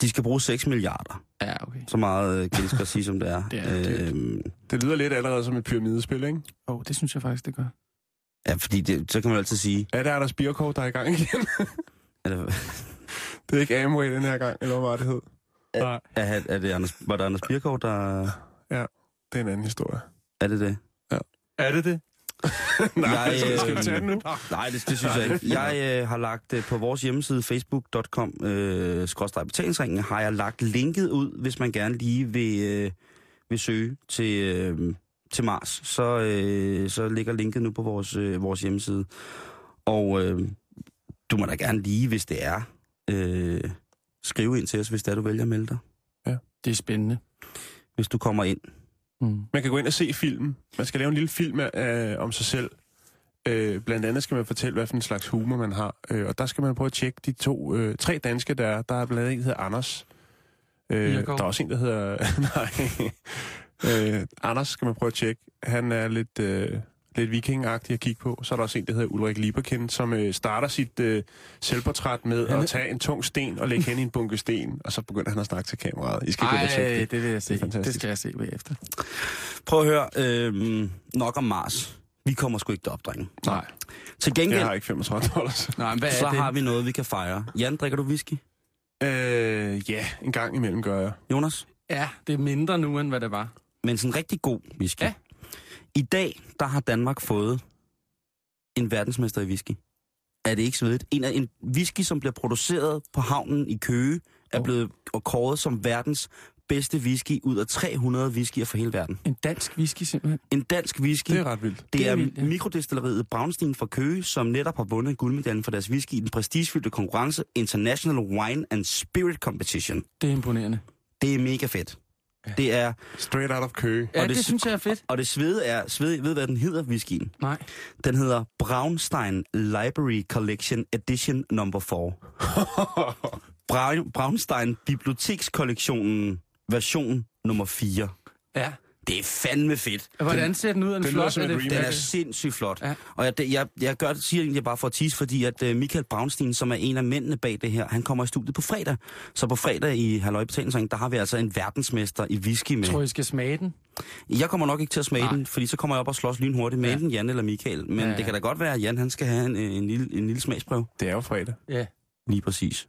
[SPEAKER 4] De skal bruge 6 milliarder.
[SPEAKER 6] Ja, okay.
[SPEAKER 4] Så meget øh, kan de skal sige, som det er.
[SPEAKER 6] Det er dyrt.
[SPEAKER 4] Øhm,
[SPEAKER 5] Det lyder lidt allerede som et pyramidespil, ikke?
[SPEAKER 6] Åh, oh, det synes jeg faktisk, det gør.
[SPEAKER 4] ja, fordi det, så kan man altid sige...
[SPEAKER 5] Er det Anders Birkow, der er i gang igen?
[SPEAKER 4] Er det,
[SPEAKER 5] det er ikke Amway den her gang, eller hvad var det hed? Nej,
[SPEAKER 4] er, er det Anders, var det Anders Birkov, der...
[SPEAKER 5] det er en anden historie.
[SPEAKER 4] Er det det?
[SPEAKER 6] Er det det?
[SPEAKER 5] Nej,
[SPEAKER 4] Jeg,
[SPEAKER 5] jeg, skal vi
[SPEAKER 4] øh,
[SPEAKER 5] tage den nu?
[SPEAKER 4] Nej, det, det synes jeg ikke. Jeg øh, har lagt øh, på vores hjemmeside, facebook.com, øh, skråstreg betalingsringen, har jeg lagt linket ud, hvis man gerne lige vil, øh, vil søge til, øh, til Mars. Så, øh, så ligger linket nu på vores, øh, vores hjemmeside. Og øh, du må da gerne lige, hvis det er, øh, skrive ind til os, hvis det er, du vælger at melde dig.
[SPEAKER 6] Det er spændende.
[SPEAKER 4] Hvis du kommer ind.
[SPEAKER 6] Mm.
[SPEAKER 5] Man kan gå ind og se filmen. Man skal lave en lille film øh, om sig selv. Øh, blandt andet skal man fortælle, hvad for en slags humor man har. Øh, og der skal man prøve at tjekke de to, øh, tre danske, der er. Der er blandt andet en, der hedder Anders. Øh, der
[SPEAKER 6] Bircow.
[SPEAKER 5] er også en, der hedder... nej. øh, Anders skal man prøve at tjekke. Han er lidt, øh, lidt vikingagtig at kigge på. Så er der også en, der hedder Ulrik Lieberkind, som øh, starter sit øh, selvportræt med at tage en tung sten og lægge hen i en bunke sten. Og så begynder han at snakke til kameraet. I skal gå ind og tjekke det.
[SPEAKER 6] Ej, det vil jeg se.
[SPEAKER 5] Det er
[SPEAKER 6] Det,
[SPEAKER 5] fantastisk.
[SPEAKER 6] det skal jeg se bagefter.
[SPEAKER 4] Prøv at høre, øh, nok om Mars. Vi kommer sgu ikke derop, drenge.
[SPEAKER 6] Nej.
[SPEAKER 4] Til gengæld,
[SPEAKER 5] Jeg har ikke 35 dollars.
[SPEAKER 6] Nej, men hvad
[SPEAKER 4] så
[SPEAKER 6] er det?
[SPEAKER 4] har vi noget, vi kan fejre. Jan, drikker du whisky?
[SPEAKER 5] Øh, ja, en gang imellem gør jeg.
[SPEAKER 4] Jonas?
[SPEAKER 6] Ja, det er mindre nu, end hvad det var.
[SPEAKER 4] men sådan en rigtig god whisky.
[SPEAKER 6] Ja.
[SPEAKER 4] I dag, der har Danmark fået en verdensmester i whisky. Er det ikke svedigt? En, af- en whisky, som bliver produceret på havnen i Køge,
[SPEAKER 6] Oh.
[SPEAKER 4] er blevet og kåret som verdens bedste whisky ud af 300 whiskyer fra hele verden.
[SPEAKER 6] En dansk whisky, simpelthen.
[SPEAKER 4] En dansk whisky.
[SPEAKER 5] Det er ret vildt.
[SPEAKER 4] Det
[SPEAKER 6] Det
[SPEAKER 4] er
[SPEAKER 6] er vildt, ja.
[SPEAKER 4] mikrodestilleriet Braunstein fra Køge, som netop har vundet guldmedaljen for deres whisky i den prestigefyldte konkurrence International Wine and Spirit Competition.
[SPEAKER 6] Det er imponerende.
[SPEAKER 4] Det er mega fedt. Det er,
[SPEAKER 5] Straight out of Køge.
[SPEAKER 6] Ja,
[SPEAKER 4] det
[SPEAKER 6] det,
[SPEAKER 4] sy-
[SPEAKER 6] det synes jeg er fedt.
[SPEAKER 4] og det svede er, svede, ved du, hvad den hedder, whiskyen?
[SPEAKER 6] Nej.
[SPEAKER 4] Den hedder Braunstein Library Collection Edition Number 4. Bra- Braunstein Bibliotekskollektionen version nummer 4.
[SPEAKER 6] Ja.
[SPEAKER 4] Det er fandme fedt.
[SPEAKER 6] Hvordan ser den ud? Er den
[SPEAKER 5] det lyder
[SPEAKER 6] flot?
[SPEAKER 5] som
[SPEAKER 6] Er
[SPEAKER 5] et
[SPEAKER 6] det,
[SPEAKER 5] remake.
[SPEAKER 4] Den er
[SPEAKER 5] Okay.
[SPEAKER 4] sindssygt flot.
[SPEAKER 6] Ja.
[SPEAKER 4] Og jeg, det- jeg, jeg gør, det- siger egentlig bare for at tease, fordi at øh, Michael Braunstein, som er en af mændene bag det her, han kommer i studiet på fredag. Så på fredag i Halløj Betalingsring, der har vi altså en verdensmester i whisky med.
[SPEAKER 6] tror, I skal smage den?
[SPEAKER 4] Jeg kommer nok ikke til at smage Nej.
[SPEAKER 6] Nej.
[SPEAKER 4] den, fordi så kommer jeg op og slås lynhurtigt med ja.
[SPEAKER 6] Ja.
[SPEAKER 4] enten Jan eller Michael. Men ja,
[SPEAKER 6] Ja,
[SPEAKER 4] ja.
[SPEAKER 6] ja.
[SPEAKER 4] det kan da godt være, at Jan han skal have en, øh, en, lille, en lille smagsprøve.
[SPEAKER 5] Det er jo fredag.
[SPEAKER 6] Ja.
[SPEAKER 4] Lige præcis.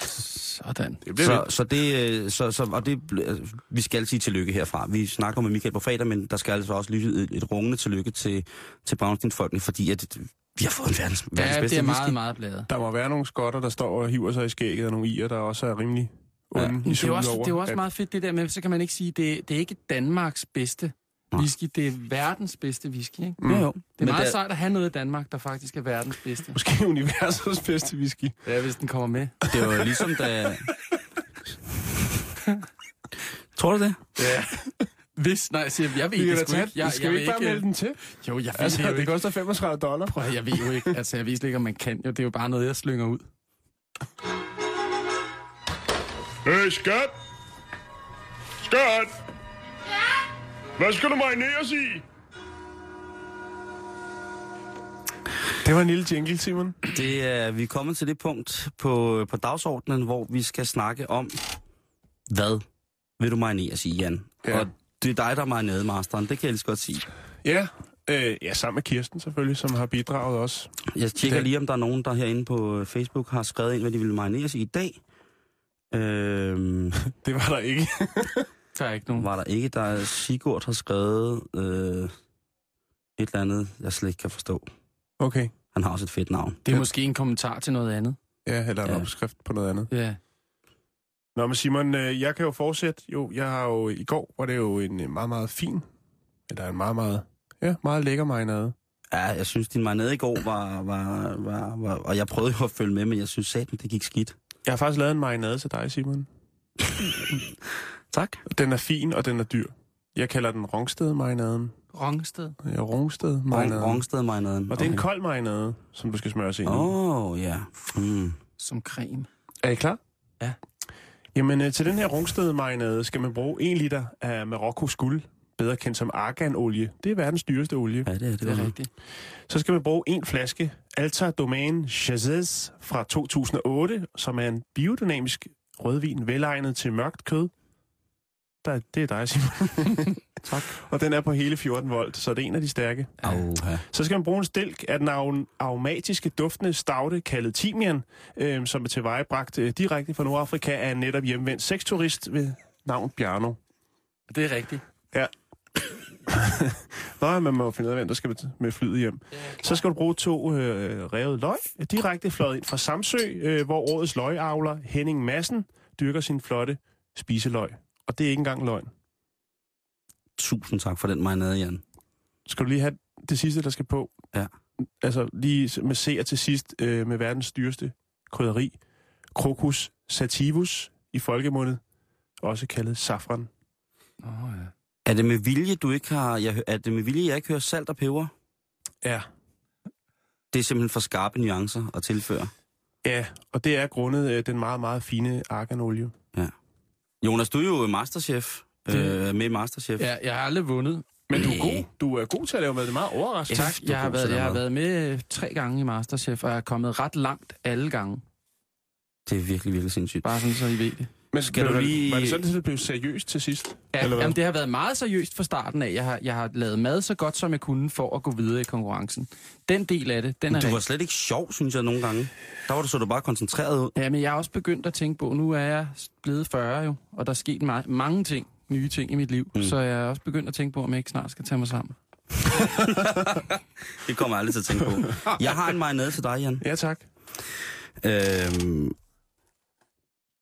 [SPEAKER 6] Sådan.
[SPEAKER 5] Det bliver
[SPEAKER 4] Så,
[SPEAKER 5] vildt.
[SPEAKER 4] så det, øh, så, så, og det, bl- øh, vi skal sige tillykke herfra. Vi snakker med Michael på fredag, men der skal altså også lyde et, et rungende tillykke til, til Brownstein-folkene, fordi at, øh, vi har fået en verdens, verdens
[SPEAKER 6] Ja,
[SPEAKER 4] bedste
[SPEAKER 6] det er
[SPEAKER 4] whisky.
[SPEAKER 6] meget, meget bladet.
[SPEAKER 5] Der må være nogle skotter, der står og hiver sig i skægget, og nogle ier, der også er rimelig
[SPEAKER 4] Ja.
[SPEAKER 5] onde ja. i
[SPEAKER 6] Men Det er, jo også,
[SPEAKER 5] over,
[SPEAKER 6] det er jo også
[SPEAKER 5] at-
[SPEAKER 6] meget fedt det der med, så kan man ikke sige, det, det er ikke Danmarks bedste
[SPEAKER 4] Nej.
[SPEAKER 6] whisky, det er verdens bedste whisky. Ikke?
[SPEAKER 5] Mm.
[SPEAKER 4] Jo, jo.
[SPEAKER 6] Det er
[SPEAKER 4] Men
[SPEAKER 6] meget
[SPEAKER 4] der-
[SPEAKER 6] sejt at have noget i Danmark, der faktisk er verdens bedste.
[SPEAKER 5] Måske universets bedste whisky.
[SPEAKER 6] Ja, hvis den kommer med.
[SPEAKER 4] Det var ligesom da... Tror du det?
[SPEAKER 6] Hvis, nej, jeg siger, jeg ved
[SPEAKER 5] Vi kan
[SPEAKER 6] det
[SPEAKER 5] da
[SPEAKER 6] sgu
[SPEAKER 5] tage
[SPEAKER 6] ikke.
[SPEAKER 5] den. Skal vi ikke bare melde den til?
[SPEAKER 6] øh, Jo, jeg ved
[SPEAKER 5] Altså,
[SPEAKER 6] det jo
[SPEAKER 5] det
[SPEAKER 6] ikke.
[SPEAKER 5] koster 35 dollar.
[SPEAKER 6] Prøv, at høre, jeg ved jo ikke. Altså, jeg ved slet ikke, om man kan. Jo, det er jo bare noget, jeg slynger ud.
[SPEAKER 9] Hey, skat! Skat! Ja? Hvad skal du marineres i?
[SPEAKER 5] Det var en lille jingle, Simon.
[SPEAKER 4] Det er, vi er kommet til det punkt på, på dagsordenen, hvor vi skal snakke om, hvad vil du marineres i, Jan? Ja.
[SPEAKER 5] Ja.
[SPEAKER 4] Og det er dig, der er marinademasteren, det kan jeg lige så godt sige.
[SPEAKER 5] Ja. Øh, ja, sammen med Kirsten selvfølgelig, som har bidraget også.
[SPEAKER 4] Jeg tjekker
[SPEAKER 5] dag.
[SPEAKER 4] lige, om der er nogen, der herinde på øh, Facebook har skrevet ind, hvad de ville marineres i i dag. Øhm,
[SPEAKER 5] Det var der ikke.
[SPEAKER 6] Der er ikke nogen.
[SPEAKER 4] var der ikke, der er Sigurd har skrevet øh, et eller andet, jeg slet ikke kan forstå.
[SPEAKER 5] Okay.
[SPEAKER 4] Han har også et fedt navn.
[SPEAKER 6] Det er måske en kommentar til noget andet.
[SPEAKER 5] Ja, eller en
[SPEAKER 4] Ja.
[SPEAKER 5] ja. opskrift på noget andet.
[SPEAKER 6] Ja.
[SPEAKER 5] Nå, men Simon, øh, jeg kan jo fortsætte. Jo, jeg har jo i går, var det jo en øh, meget, meget fin, eller en meget, meget, ja, meget lækker marinade.
[SPEAKER 4] Ja, jeg synes, din marinade i går var, var, var, var... Og jeg prøvede jo at følge med, men jeg synes satan, det gik skidt.
[SPEAKER 5] Jeg har faktisk lavet en marinade til dig, Simon.
[SPEAKER 4] Tak.
[SPEAKER 5] Den er fin, og den er dyr. Jeg kalder den Rungsted-marinaden.
[SPEAKER 6] Rungsted.
[SPEAKER 5] Ja, Rungsted-marinaden.
[SPEAKER 4] Rungsted marinaden.
[SPEAKER 5] Og det er en kold marinade, som du skal smøre sig ind i.
[SPEAKER 4] Åh, oh, ja. Mm.
[SPEAKER 6] Som creme.
[SPEAKER 5] Er I klar?
[SPEAKER 1] Ja.
[SPEAKER 5] Jamen, øh, til den her rungsted skal man bruge 1 liter af Marokkos guld, bedre kendt som arganolie. Det er verdens dyreste olie.
[SPEAKER 4] Ja, det er det.
[SPEAKER 6] Det er rigtigt.
[SPEAKER 5] Så skal man bruge en flaske Alta Domain Chazes fra 2008, som er en biodynamisk rødvin, velegnet til mørkt kød. Der, det er dig, Simon.
[SPEAKER 4] Tak.
[SPEAKER 5] Og den er på hele 14 volt, så det er en af de stærke.
[SPEAKER 4] Auha.
[SPEAKER 5] Så skal man bruge en stilk af den arom- aromatiske duftende stavte kaldet timian, øh, som er tilvejebragt øh, direkte fra Nordafrika af en netop hjemvendt sexturist ved navn Bjarno.
[SPEAKER 6] Det er rigtigt.
[SPEAKER 5] Nå, men man må finde ud af, hvem der skal med- med flyet hjem. Så skal du bruge to øh, revet løg, direkte fløjet ind fra Samsø, øh, hvor årets løgavler Henning Madsen dyrker sin flotte spiseløg. Og det er ikke engang løgn.
[SPEAKER 4] Tusind tak for den marinade, Jan.
[SPEAKER 5] Skal du lige have det sidste, der skal på?
[SPEAKER 4] Ja.
[SPEAKER 5] Altså lige med C'er til sidst øh, med verdens dyreste krydderi. Crocus sativus i folkemundet. Også kaldet safran.
[SPEAKER 6] Åh, oh, ja.
[SPEAKER 4] Er det med vilje, du ikke har... Jeg, hø- er det med vilje, jeg ikke hører salt og peber?
[SPEAKER 5] Ja.
[SPEAKER 4] Det er simpelthen for skarpe nuancer at tilføre.
[SPEAKER 5] Ja, og det er grundet øh, den meget, meget fine arganolie.
[SPEAKER 4] Jonas, du er jo masterchef.
[SPEAKER 6] Det-
[SPEAKER 4] Øh, med i masterchef.
[SPEAKER 6] ja. Jeg har aldrig vundet.
[SPEAKER 5] Men du er
[SPEAKER 4] Ja.
[SPEAKER 5] god. Du er god til at lave mad. Det er meget overraskende.
[SPEAKER 6] Tak.
[SPEAKER 4] du
[SPEAKER 6] Jeg har,
[SPEAKER 4] god til
[SPEAKER 6] været,
[SPEAKER 4] at
[SPEAKER 6] jeg har
[SPEAKER 4] lave
[SPEAKER 6] været med øh, tre gange i Masterchef, og jeg er kommet ret langt alle gange.
[SPEAKER 4] Det er virkelig, virkelig sindssygt.
[SPEAKER 6] Bare sådan, så I ved det.
[SPEAKER 5] Men
[SPEAKER 4] Skal
[SPEAKER 5] blev
[SPEAKER 4] du
[SPEAKER 5] det-
[SPEAKER 4] lige-
[SPEAKER 5] Var det sådan, at det blev seriøst til sidst?
[SPEAKER 6] Ja,
[SPEAKER 5] Eller hvad?
[SPEAKER 6] jamen, det har været meget seriøst fra starten af. Jeg har, jeg har lavet mad så godt, som jeg kunne, for at gå videre i konkurrencen. Den del af det, den er
[SPEAKER 4] Men du var
[SPEAKER 6] rigtig.
[SPEAKER 4] slet ikke sjov, synes jeg, nogle gange. Der var du så du bare koncentreret ud.
[SPEAKER 6] Ja, men jeg er også begyndt at tænke på, nu er jeg blevet 40 jo, og der er sket ma- mange ting, nye ting i mit liv. Mm. Så jeg er også begyndt at tænke på, om jeg ikke snart skal tage mig sammen.
[SPEAKER 4] Det kommer jeg aldrig til at tænke på. Jeg har en marinade til dig, Jan.
[SPEAKER 5] Ja, tak.
[SPEAKER 4] Øhm,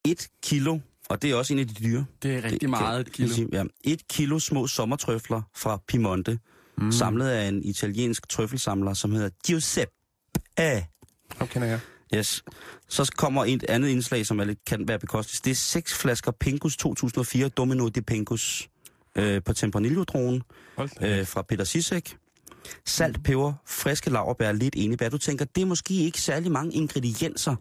[SPEAKER 4] et kilo, og det er også en af de dyre.
[SPEAKER 6] Det er rigtig det, meget et
[SPEAKER 4] kan-
[SPEAKER 6] kilo.
[SPEAKER 4] kan sige, Ja, et kilo små sommertrøfler fra Piemonte, mm. samlet af en italiensk trøffelsamler, som hedder Giuseppe.
[SPEAKER 5] Ham kender jeg.
[SPEAKER 4] Yes. Så kommer et andet indslag, som er lidt, kan være bekostet. Det er seks flasker Pinkus 2004 Domino de Pinkus øh, på Tempranillo-dronen
[SPEAKER 5] Hold da.
[SPEAKER 4] øh, fra Peter Sisek. Salt, peber, friske laverbær, lidt enebær. Du tænker, det er måske ikke særlig mange ingredienser,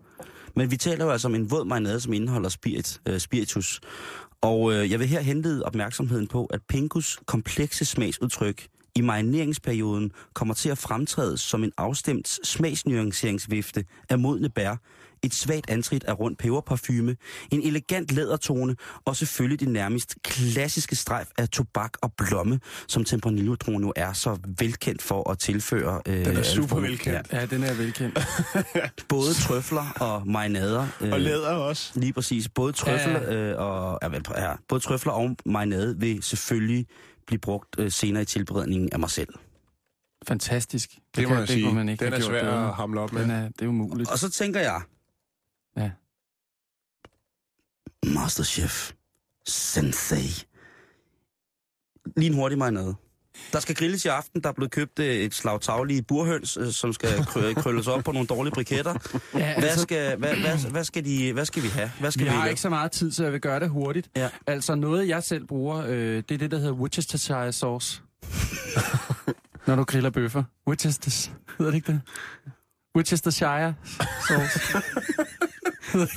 [SPEAKER 4] men vi taler jo altså om en våd marinade, som indeholder spirit, øh, spiritus. Og øh, jeg vil her henlede opmærksomheden på, at pinkus komplekse smagsudtryk i marineringsperioden kommer til at fremtræde som en afstemt smagsnuanceringsvifte af modne bær, et svagt antrit af rund peberparfume, en elegant lædertone og selvfølgelig det nærmest klassiske strejf af tobak og blomme, som tempranillo jo er så velkendt for at tilføre. Øh,
[SPEAKER 5] Den er
[SPEAKER 4] alle
[SPEAKER 5] super
[SPEAKER 4] former-
[SPEAKER 5] velkendt.
[SPEAKER 6] Ja, den er velkendt.
[SPEAKER 4] både trøfler og marinader. Øh,
[SPEAKER 5] Og læder også.
[SPEAKER 4] Lige præcis. Både trøfler,
[SPEAKER 6] Ja.
[SPEAKER 4] øh, og, ja, vel, ja, både trøfler og marinade vil selvfølgelig blive brugt øh, senere i tilberedningen af mig selv.
[SPEAKER 6] Fantastisk. Det,
[SPEAKER 5] Det må jeg sige.
[SPEAKER 6] kunne man ikke
[SPEAKER 5] Den
[SPEAKER 6] have
[SPEAKER 5] er
[SPEAKER 6] gjort
[SPEAKER 5] svær
[SPEAKER 6] bedre.
[SPEAKER 5] at hamle op med.
[SPEAKER 6] Den er, det er umuligt.
[SPEAKER 4] Og så tænker jeg...
[SPEAKER 6] Ja.
[SPEAKER 4] Masterchef. Sensei. Lige en hurtig marinade. Der skal grilles i aften. Der er blevet købt øh, et slag taglige burhøns, øh, som skal krø- krølles op på nogle dårlige briketter.
[SPEAKER 6] Ja,
[SPEAKER 4] Hvad
[SPEAKER 6] altså,
[SPEAKER 4] skal, hvad, hvad, hvad skal, de, hvad skal vi have? Hvad skal vi
[SPEAKER 6] vi har
[SPEAKER 4] have?
[SPEAKER 6] ikke så meget tid, så jeg vil gøre det hurtigt.
[SPEAKER 4] Ja.
[SPEAKER 6] Altså noget, jeg selv bruger, øh, det er det, der hedder Worcestershire sauce. Når du griller bøffer. Worcestershire. Hedder det ikke det? Worcestershire sauce.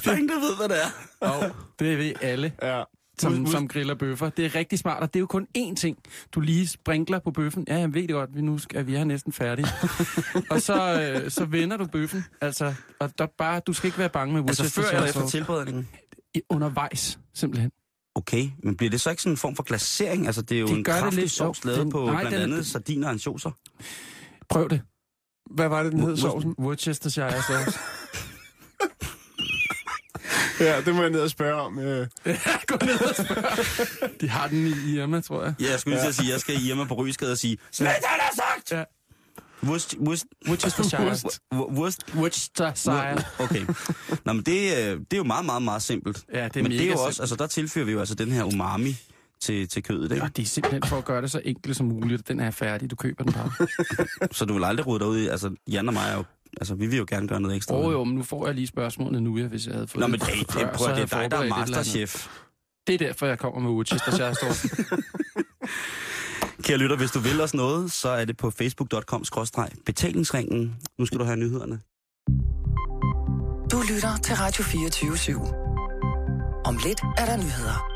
[SPEAKER 4] Der er ingen, der ved, hvad det er.
[SPEAKER 6] Og det ved alle,
[SPEAKER 5] Ja.
[SPEAKER 6] som, som griller bøffer. Det er rigtig smart, og det er jo kun én ting, du lige sprinkler på bøffen. Ja, jeg ved det godt, vi nu skal, vi er næsten færdige. og så, øh, så vender du bøffen. Altså, og der bare, du skal ikke være bange med
[SPEAKER 4] Altså før
[SPEAKER 6] Worcestershire
[SPEAKER 4] eller efter
[SPEAKER 6] sauce.
[SPEAKER 4] tilberedningen?
[SPEAKER 6] I- Undervejs, simpelthen.
[SPEAKER 4] Okay, men bliver det så ikke sådan en form for glasering? Altså, det er jo
[SPEAKER 6] Det
[SPEAKER 4] en
[SPEAKER 6] gør det
[SPEAKER 4] kraftig
[SPEAKER 6] lidt,
[SPEAKER 4] sovs
[SPEAKER 6] jo.
[SPEAKER 4] lavet
[SPEAKER 6] Den-
[SPEAKER 4] på
[SPEAKER 6] nej,
[SPEAKER 4] blandt
[SPEAKER 6] den-
[SPEAKER 4] andet sardiner og ansjoser.
[SPEAKER 6] Prøv det.
[SPEAKER 5] Hvad var det, den hed, sovsen?
[SPEAKER 6] Worcestershire sauce.
[SPEAKER 5] Ja, det må jeg ned og spørge om. øh.
[SPEAKER 6] Gå ned og spørg. De har den i Irma, tror jeg.
[SPEAKER 4] Ja, jeg skulle lige til at sige, jeg skal i Irma på Rygeskade og sige, Slet har der sagt!
[SPEAKER 6] Ja.
[SPEAKER 4] Wurst, wurst,
[SPEAKER 6] Worcestershire.
[SPEAKER 4] wurst, wurst,
[SPEAKER 6] Worcestershire.
[SPEAKER 4] Okay. Nå, men det, øh, det er jo meget, meget, meget simpelt.
[SPEAKER 6] Ja, det er
[SPEAKER 4] men det er
[SPEAKER 6] mega
[SPEAKER 4] jo også,
[SPEAKER 6] simpelt.
[SPEAKER 4] altså der tilfører vi jo altså den her umami til, til kødet, ikke?
[SPEAKER 6] Og det er simpelthen for at gøre det så enkelt som muligt, at den er færdig, du køber den bare.
[SPEAKER 4] Så du vil aldrig rode dig ud i, altså Jan og mig er jo, altså vi vil jo gerne gøre noget ekstra.
[SPEAKER 6] Åh jo, men nu får jeg lige spørgsmålene nu, ja, hvis jeg havde fået
[SPEAKER 4] Nå,
[SPEAKER 6] dem
[SPEAKER 4] men det, det,
[SPEAKER 6] før, så
[SPEAKER 4] prøv, at-
[SPEAKER 6] havde
[SPEAKER 4] det
[SPEAKER 6] jeg
[SPEAKER 4] er dig, der er
[SPEAKER 6] forberedt et eller andet.
[SPEAKER 4] masterchef.
[SPEAKER 6] Det er derfor, jeg kommer med Uchister Sjærstorp.
[SPEAKER 4] Kære lytter, hvis du vil os noget, så er det på facebook.com-betalingsringen. Nu skal du have nyhederne.
[SPEAKER 3] Du lytter til Radio 24 /7. Om lidt er der nyheder.